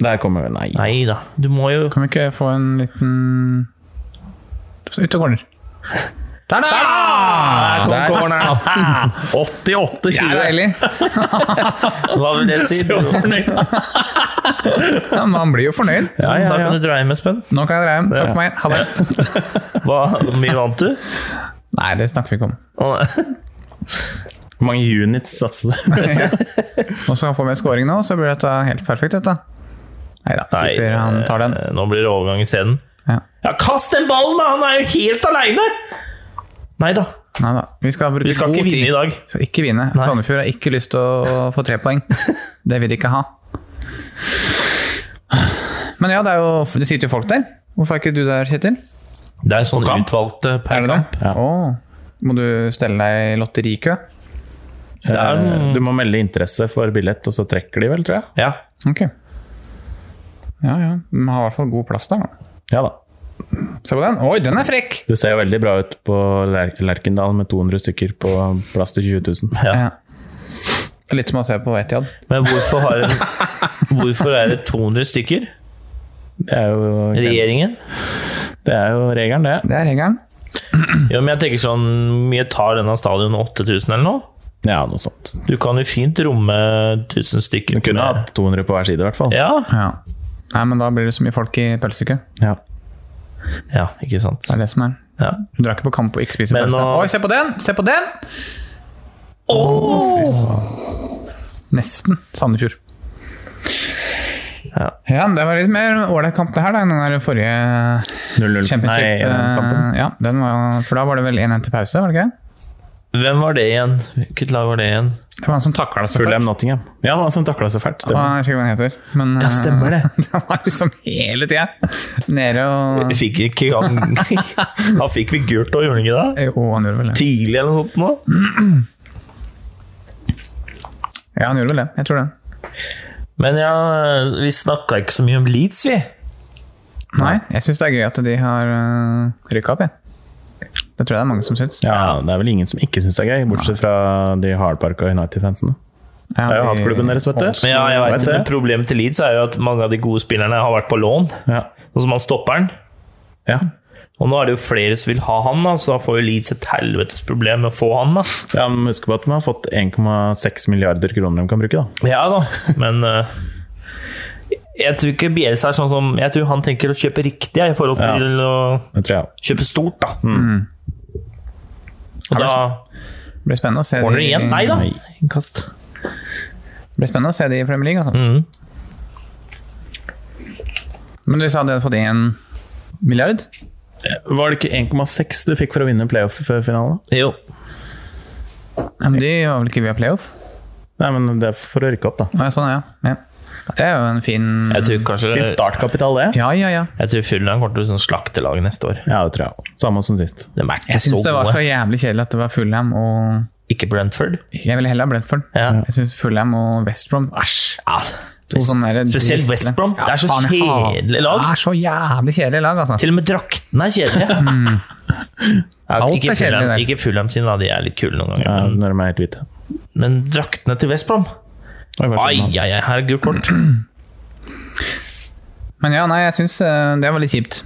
[SPEAKER 1] Der kommer vi Nei.
[SPEAKER 2] Nei da. Du må jo
[SPEAKER 4] Kan vi ikke få en liten Ut og corner. Der, da!
[SPEAKER 1] Ah,
[SPEAKER 2] kom
[SPEAKER 1] der
[SPEAKER 2] corneren.
[SPEAKER 1] satt den. 88-20.
[SPEAKER 4] Det er deilig.
[SPEAKER 2] Hva vil det si? Du,
[SPEAKER 4] Ja, Man blir jo fornøyd.
[SPEAKER 1] Ja, ja,
[SPEAKER 2] Da
[SPEAKER 1] ja.
[SPEAKER 2] kan du dra hjem med spenn.
[SPEAKER 4] Nå kan jeg dreie hjem. Takk for meg. Ha det.
[SPEAKER 2] Hva hvor mye vant du?
[SPEAKER 4] Nei, det snakker vi ikke om.
[SPEAKER 2] Å, nei.
[SPEAKER 1] Hvor mange units satser du?
[SPEAKER 4] Og så får vi en scoring nå, så blir dette helt perfekt. Dette. Neida,
[SPEAKER 2] Nei,
[SPEAKER 4] keeper han tar den.
[SPEAKER 2] eh, Nå blir det overgang isteden.
[SPEAKER 4] Ja.
[SPEAKER 2] Ja, kast den ballen, da! Han er jo helt aleine! Nei da.
[SPEAKER 4] Neida. Vi skal bruke
[SPEAKER 2] Vi skal
[SPEAKER 4] god
[SPEAKER 2] ikke vinne
[SPEAKER 4] tid.
[SPEAKER 2] i dag.
[SPEAKER 4] Så Ikke vinne. Sandefjord har ikke lyst til å få tre poeng. Det vil de ikke ha. Men ja, det, er jo, det sitter jo folk der. Hvorfor er ikke du der, Kjetil?
[SPEAKER 2] Det er sånn utvalgte per
[SPEAKER 4] Er det
[SPEAKER 2] kamp.
[SPEAKER 4] det?
[SPEAKER 1] Ja.
[SPEAKER 4] Å, Må du stelle deg i lotterikø?
[SPEAKER 2] er noen-
[SPEAKER 1] Eh, Du må melde interesse for billett, og så trekker de vel, tror jeg.
[SPEAKER 2] Ja.
[SPEAKER 4] Ok. Ja, ja. Vi har i hvert fall god plass der, da.
[SPEAKER 1] Ja da.
[SPEAKER 4] Se på den. Oi, den er frekk!
[SPEAKER 1] Det ser jo veldig bra ut på Ler Lerkendal med 200 stykker på plass til 20 000.
[SPEAKER 2] Ja.
[SPEAKER 4] Ja. Det er Litt som å se på Etiad.
[SPEAKER 2] Men hvorfor, har en, hvorfor er det 200 stykker?
[SPEAKER 1] Det er jo,
[SPEAKER 2] Regjeringen?
[SPEAKER 1] det er jo regelen, det.
[SPEAKER 4] Det er regelen.
[SPEAKER 2] Jo, men jeg tenker sånn hvor Mye tar denne stadion 8000 eller noe?
[SPEAKER 1] Ja, noe sånt.
[SPEAKER 2] Du kan jo fint romme 1000 stykker.
[SPEAKER 1] Du kunne
[SPEAKER 2] med-
[SPEAKER 1] hatt 200 på hver side, i hvert fall.
[SPEAKER 2] Ja.
[SPEAKER 4] Ja. Nei, men da blir det så mye folk i pølsekø.
[SPEAKER 1] Ja.
[SPEAKER 2] ja, ikke sant.
[SPEAKER 4] Det er det som er.
[SPEAKER 2] Ja.
[SPEAKER 4] Du drar ikke på kamp og ikke spiser
[SPEAKER 2] Men
[SPEAKER 4] pølse.
[SPEAKER 2] nå-
[SPEAKER 4] Oi, se på den! Se på den! Nesten Sandefjord.
[SPEAKER 2] Ja.
[SPEAKER 4] Ja, men det var litt mer ålreit kamp det her, da, enn den der forrige
[SPEAKER 1] 0-0. Nei,
[SPEAKER 2] eh,
[SPEAKER 4] kjempetripp.
[SPEAKER 1] kampen.
[SPEAKER 4] eh, Ja, den var, for da var det vel 1-1 til pause, var det ikke? det?
[SPEAKER 2] Hvem var det igjen? Hvilket lag var det igjen?
[SPEAKER 4] Det var han som takla så fælt.
[SPEAKER 1] Fulham Nottingham. Ja, han som takla seg fælt.
[SPEAKER 4] Hva,
[SPEAKER 1] Stemmer.
[SPEAKER 4] jeg husker ikke hva han heter. Men,
[SPEAKER 2] Ja, stemmer det.
[SPEAKER 4] eh, det var liksom hele tida nede og
[SPEAKER 2] Vi Fikk ikke gang Da fikk vi gult og gjorde han ikke det?
[SPEAKER 4] Jo, han gjorde vel det.
[SPEAKER 2] Tidlig eller noe sånt nå?
[SPEAKER 4] Ja, han gjorde vel det. Jeg tror det.
[SPEAKER 2] Men ja, vi snakka ikke så mye om Leeds, vi.
[SPEAKER 4] Nei, jeg syns det er gøy at de har uh, rykka opp, jeg. Det tror jeg det er mange som syns.
[SPEAKER 1] Ja, det er vel ingen som ikke syns det er gøy, bortsett fra de hardparka United-fansene. Det
[SPEAKER 4] Ja,
[SPEAKER 1] er jo
[SPEAKER 4] de-
[SPEAKER 1] hatklubben deres, vet du.
[SPEAKER 2] Men ja, jeg vet,
[SPEAKER 1] Vet
[SPEAKER 2] det.
[SPEAKER 1] det.
[SPEAKER 2] Men problemet til Leeds er jo at mange av de gode spillerne har vært på lån.
[SPEAKER 1] Ja.
[SPEAKER 2] Sånn som han stopper'n.
[SPEAKER 1] Ja.
[SPEAKER 2] Og nå er det jo flere som vil ha han, da, så da får jo Leeds et helvetes problem med å få han. da.
[SPEAKER 1] ja, men Husk på at de har fått 1,6 milliarder kroner de kan bruke, da.
[SPEAKER 2] Ja da, men eh, jeg tror ikke Bielsa er sånn som Jeg tror han tenker å kjøpe riktig jeg, i forhold
[SPEAKER 1] Ja.
[SPEAKER 2] til å
[SPEAKER 1] Det tror jeg.
[SPEAKER 2] kjøpe stort, da. Og da
[SPEAKER 4] Det blir spennende å se de-
[SPEAKER 2] får dere igjen. Nei da. Innkast.
[SPEAKER 4] Det blir spennende å se de i Premier League, altså.
[SPEAKER 2] Mm.
[SPEAKER 4] Men du sa de hadde fått én milliard?
[SPEAKER 1] Var det ikke 1,6 du fikk for å vinne playoff-finalen?
[SPEAKER 2] Jo.
[SPEAKER 4] Ja, men de var vel ikke via playoff?
[SPEAKER 1] Nei, men det er for å rykke opp, da.
[SPEAKER 4] Nei, sånn, ja. ja. Det er jo en fin
[SPEAKER 2] Jeg tror kanskje
[SPEAKER 1] Mm. Fint startkapital, det.
[SPEAKER 4] Ja, ja, ja.
[SPEAKER 2] Jeg tror Fulham kommer til å sånn slakte laget neste år.
[SPEAKER 1] Ja, det tror jeg også. Samme som sist.
[SPEAKER 2] De er ikke
[SPEAKER 4] Jeg
[SPEAKER 2] så
[SPEAKER 4] syns det var
[SPEAKER 2] gode.
[SPEAKER 4] så jævlig kjedelig at det var Fulham og
[SPEAKER 2] Ikke Brentford.
[SPEAKER 4] Jeg ville heller ha Brentford.
[SPEAKER 2] Ja.
[SPEAKER 4] Jeg syns Fulham og West Brom Æsj!
[SPEAKER 2] Ja.
[SPEAKER 4] To sånne der
[SPEAKER 2] Spesielt
[SPEAKER 4] drittere.
[SPEAKER 2] West Brom.
[SPEAKER 4] Ja,
[SPEAKER 2] Det er så
[SPEAKER 4] faen, jeg hater-
[SPEAKER 2] kjedelig lag.
[SPEAKER 4] Det er så jævlig kjedelig lag, altså.
[SPEAKER 2] Til og med draktene er kjedelige. Ja,
[SPEAKER 4] Mm. Alt
[SPEAKER 2] ikke
[SPEAKER 4] er kjedelig
[SPEAKER 2] Fulham-
[SPEAKER 4] der.
[SPEAKER 2] Ikke Fulham sine, da. De er litt kule noen
[SPEAKER 1] Ja,
[SPEAKER 2] ganger. Men,
[SPEAKER 1] når de er helt hvite.
[SPEAKER 2] men draktene til West Brom
[SPEAKER 1] Oi, hva
[SPEAKER 2] Ai,
[SPEAKER 1] skjedde nå?
[SPEAKER 2] ai, ai, her er gult kort. Eh,
[SPEAKER 4] Men ja, nei, jeg syns det var litt kjipt.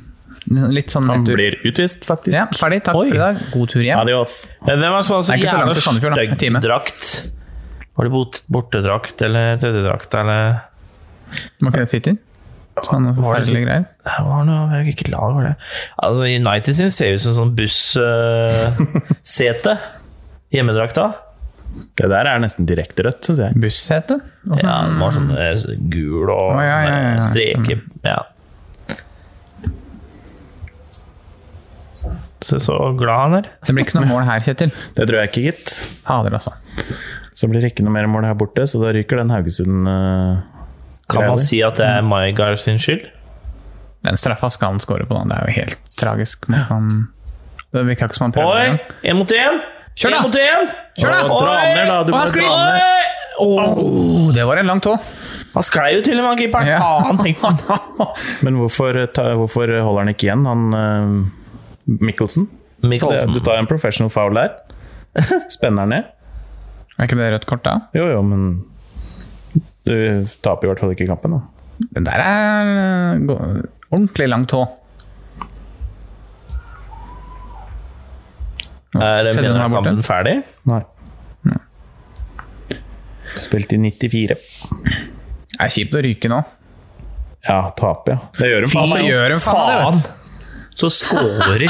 [SPEAKER 4] Litt sånn
[SPEAKER 1] Han
[SPEAKER 4] nedtur.
[SPEAKER 1] blir utvist, faktisk.
[SPEAKER 4] Ja, ferdig. Takk
[SPEAKER 2] Oi.
[SPEAKER 4] for i dag. God tur hjem.
[SPEAKER 1] Adios.
[SPEAKER 2] Men hvem er det som har så
[SPEAKER 4] Det er ikke så langt
[SPEAKER 2] jævla
[SPEAKER 4] til Sandefjord, da. En time.
[SPEAKER 2] stygg drakt? Var det bort, bortedrakt eller tredjedrakt eller
[SPEAKER 4] Må ikke det sitte? Sånne
[SPEAKER 2] Var det
[SPEAKER 4] forferdelige greier.
[SPEAKER 2] Det var noe, jeg vet ikke lag var det. Altså, United sin ser ut som sånn bussete. Hjemmedrakta.
[SPEAKER 1] Det der er nesten direkte rødt, syns jeg.
[SPEAKER 4] Bussete? Og
[SPEAKER 2] Ja,
[SPEAKER 4] sånn-
[SPEAKER 2] den var sånn eh, gul
[SPEAKER 4] Å,
[SPEAKER 2] og
[SPEAKER 4] ja, ja, ja, ja.
[SPEAKER 2] med streker. Ja. Se så glad han er.
[SPEAKER 4] Det blir ikke noe mål her, Kjetil.
[SPEAKER 1] Det tror jeg ikke, gitt.
[SPEAKER 4] Fader, altså.
[SPEAKER 1] Så blir det ikke noe mer mål her borte, så da ryker den Haugesund eh,
[SPEAKER 2] Kan
[SPEAKER 1] Greier.
[SPEAKER 2] man si at det er Maigar sin skyld?
[SPEAKER 4] Den straffa skal han score på, da. Det er jo helt tragisk. Man kan... Det virka ikke som han prøvde.
[SPEAKER 2] Oi!
[SPEAKER 4] engang.
[SPEAKER 2] Én mot én!
[SPEAKER 4] Kjør da!
[SPEAKER 2] En mot en!
[SPEAKER 4] Kjør da!
[SPEAKER 2] Oi!
[SPEAKER 1] Dra ned, da! Du
[SPEAKER 4] Å,
[SPEAKER 1] må
[SPEAKER 4] han
[SPEAKER 1] dra
[SPEAKER 4] skriver!
[SPEAKER 1] ned.
[SPEAKER 2] Oi! Åh,
[SPEAKER 4] Oh, det var en lang tå.
[SPEAKER 2] Han sklei jo til og med, keeperen.
[SPEAKER 4] Ja.
[SPEAKER 2] Faen, tenkte han.
[SPEAKER 1] Men hvorfor, ta, hvorfor holder han ikke igjen, han uh, Mikkelsen? Det,
[SPEAKER 2] Mikkelsen.
[SPEAKER 1] du tar en professional foul der. Spenner den ned.
[SPEAKER 4] Er ikke det rødt kort, da?
[SPEAKER 1] Jo, jo, men du taper i hvert fall ikke kampen, da.
[SPEAKER 4] Den der er øh, gå- ordentlig lang tå.
[SPEAKER 2] Er
[SPEAKER 4] Skjedde den her
[SPEAKER 2] mener
[SPEAKER 4] borte?
[SPEAKER 2] kampen ferdig?
[SPEAKER 1] Nei. Spilt i 94.
[SPEAKER 4] Det er kjipt å ryke nå.
[SPEAKER 1] Ja, tape, ja. Det gjør du faen
[SPEAKER 4] Fy
[SPEAKER 1] meg.
[SPEAKER 4] søren. gjør de faen meg det,
[SPEAKER 2] Faen!
[SPEAKER 4] vet
[SPEAKER 2] Så scorer
[SPEAKER 4] Er det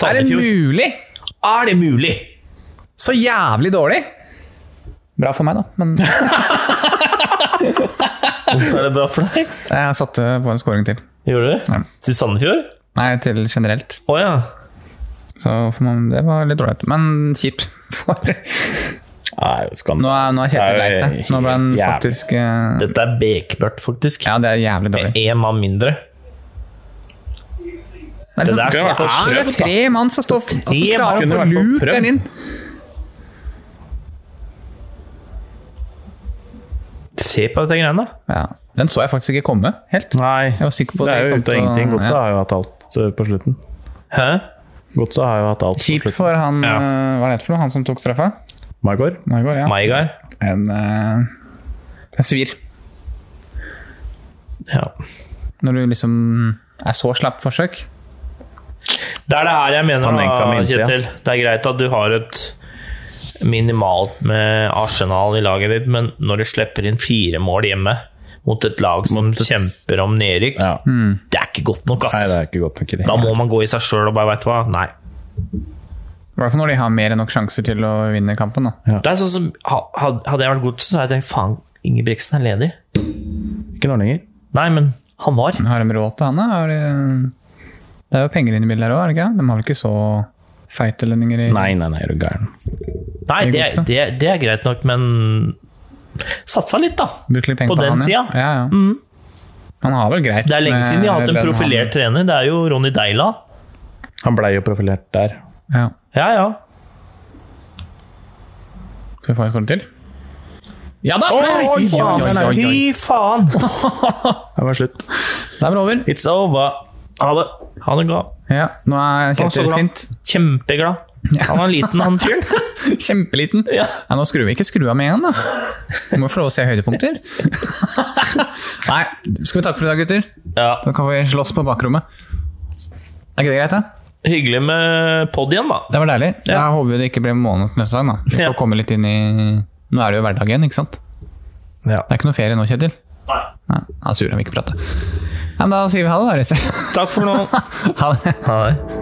[SPEAKER 2] Sandefjord.
[SPEAKER 4] mulig?
[SPEAKER 2] Er det mulig?
[SPEAKER 4] Så jævlig dårlig! Bra for meg, da. Men
[SPEAKER 2] Hvorfor er det bra for deg?
[SPEAKER 4] jeg satte på en scoring til.
[SPEAKER 2] Gjorde du?
[SPEAKER 4] Ja.
[SPEAKER 2] Til Sandefjord?
[SPEAKER 4] Nei, til generelt.
[SPEAKER 2] Å ja.
[SPEAKER 4] Så for man, det var litt dårlig. Men kjipt. For
[SPEAKER 1] Nei,
[SPEAKER 4] nå
[SPEAKER 1] skandale.
[SPEAKER 4] er, nå er Kjetil lei seg. Nå ble han
[SPEAKER 1] Helt jævlig.
[SPEAKER 4] faktisk øh,
[SPEAKER 2] Dette er bekmørkt, faktisk.
[SPEAKER 4] Ja, det er jævlig dårlig.
[SPEAKER 2] Med én mann mindre.
[SPEAKER 4] Det er,
[SPEAKER 2] Det
[SPEAKER 1] Det
[SPEAKER 4] liksom,
[SPEAKER 2] der skulle
[SPEAKER 1] er i
[SPEAKER 2] vært
[SPEAKER 1] hvert fall
[SPEAKER 4] Ja,
[SPEAKER 1] prøvd,
[SPEAKER 4] det er
[SPEAKER 1] da.
[SPEAKER 4] tre mann som står og
[SPEAKER 2] Tre
[SPEAKER 4] klarer
[SPEAKER 1] mann kunne
[SPEAKER 4] å få
[SPEAKER 1] i hvert fall
[SPEAKER 4] lurt
[SPEAKER 1] prøvd.
[SPEAKER 4] den inn.
[SPEAKER 2] Se på dette greiene. da.
[SPEAKER 4] Ja, Den så jeg faktisk ikke komme helt.
[SPEAKER 1] Nei,
[SPEAKER 4] Jeg var sikker på
[SPEAKER 1] det
[SPEAKER 4] at
[SPEAKER 1] er
[SPEAKER 4] jeg
[SPEAKER 1] jo
[SPEAKER 4] kom
[SPEAKER 1] ute av
[SPEAKER 4] til å-
[SPEAKER 1] ingenting. Godset
[SPEAKER 4] ja.
[SPEAKER 1] har jo hatt alt eh, på slutten.
[SPEAKER 2] Hæ?
[SPEAKER 1] Godset har jo hatt alt på
[SPEAKER 4] Kjipt
[SPEAKER 1] slutten.
[SPEAKER 4] for han
[SPEAKER 2] Ja.
[SPEAKER 4] øh, Hva er det for noe? Han som tok straffa?
[SPEAKER 1] Margot?
[SPEAKER 4] Maigard, ja.
[SPEAKER 2] Maigar.
[SPEAKER 4] En, øh, en svir.
[SPEAKER 2] Ja.
[SPEAKER 4] Når du liksom er så slapt forsøk.
[SPEAKER 2] Det er det her jeg mener,
[SPEAKER 1] Han enka
[SPEAKER 2] da,
[SPEAKER 1] minst, ja.
[SPEAKER 2] Kjetil. Det er greit at du har et minimalt med arsenal i laget ditt, men når du slipper inn fire mål hjemme mot et lag som
[SPEAKER 1] Mot et-
[SPEAKER 2] kjemper om nedrykk.
[SPEAKER 1] Ja.
[SPEAKER 4] Mm.
[SPEAKER 2] Det er ikke godt nok,
[SPEAKER 1] Nei, det
[SPEAKER 2] ass!
[SPEAKER 1] er ikke godt nok i det.
[SPEAKER 2] da må man gå i seg sjøl og bare veit du hva, nei.
[SPEAKER 4] I hvert fall når de har mer enn nok sjanser til å vinne kampen. Da.
[SPEAKER 2] Det er sånn som, ha- hadde jeg vært god, sånn, så hadde jeg tenkt faen, Ingebrigtsen er ledig.
[SPEAKER 1] Ikke nå lenger.
[SPEAKER 2] Nei, men han var.
[SPEAKER 4] Men Har de råd til han, da? Er det, det er jo penger inne i bildet her òg, er det ikke? De har vel ikke så feite lønninger i
[SPEAKER 1] Nei, nei, nei, er du gæren.
[SPEAKER 2] Nei, det,
[SPEAKER 4] Ikke også?
[SPEAKER 2] det, det er greit nok, men satsa litt, da.
[SPEAKER 4] Bruker litt penger
[SPEAKER 2] På
[SPEAKER 4] på,
[SPEAKER 2] den
[SPEAKER 4] han, ja.
[SPEAKER 2] tida?
[SPEAKER 4] Ja, ja. Han har vel greit
[SPEAKER 2] Det er lenge
[SPEAKER 4] med
[SPEAKER 2] siden de har hatt en
[SPEAKER 4] lønn han-
[SPEAKER 2] profilert trener. Det er jo Ronny Deila.
[SPEAKER 1] Han blei jo profilert der.
[SPEAKER 4] Ja.
[SPEAKER 2] Ja, ja.
[SPEAKER 4] Skal vi få en skåring til? Ja da!
[SPEAKER 2] Oi, faen! Fy faen!
[SPEAKER 1] Det var slutt.
[SPEAKER 4] Da er det over.
[SPEAKER 1] It's over.
[SPEAKER 2] Ha det. Ha det godt.
[SPEAKER 4] Ja, nå er
[SPEAKER 2] Han så
[SPEAKER 4] Kjetil
[SPEAKER 2] glad.
[SPEAKER 4] sint.
[SPEAKER 2] Kjempeglad. Han er liten, han fyren.
[SPEAKER 4] Kjempeliten.
[SPEAKER 2] Ja.
[SPEAKER 4] Ja, nå skrur vi ikke skru av med en, da. Vi må få lov å se høydepunkter. Nei, skal vi takke for i dag, gutter?
[SPEAKER 2] ja.
[SPEAKER 4] Da kan vi slåss på bakrommet. Er ikke det greit, da?
[SPEAKER 2] Hyggelig med pod igjen, da.
[SPEAKER 4] Det var deilig. Da
[SPEAKER 2] Ja.
[SPEAKER 4] håper vi det ikke blir måned neste gang, da. Vi får
[SPEAKER 2] Ja.
[SPEAKER 4] komme litt inn i Nå er det jo hverdagen, ikke sant?
[SPEAKER 2] Ja.
[SPEAKER 4] Det er ikke noe ferie nå, Kjetil.
[SPEAKER 2] Nei.
[SPEAKER 4] Nei, han er sur, han vil ikke prate. Ja, men da sier vi ha det, da, rett.
[SPEAKER 2] Takk for nå.
[SPEAKER 4] Ha det.
[SPEAKER 2] Ha det.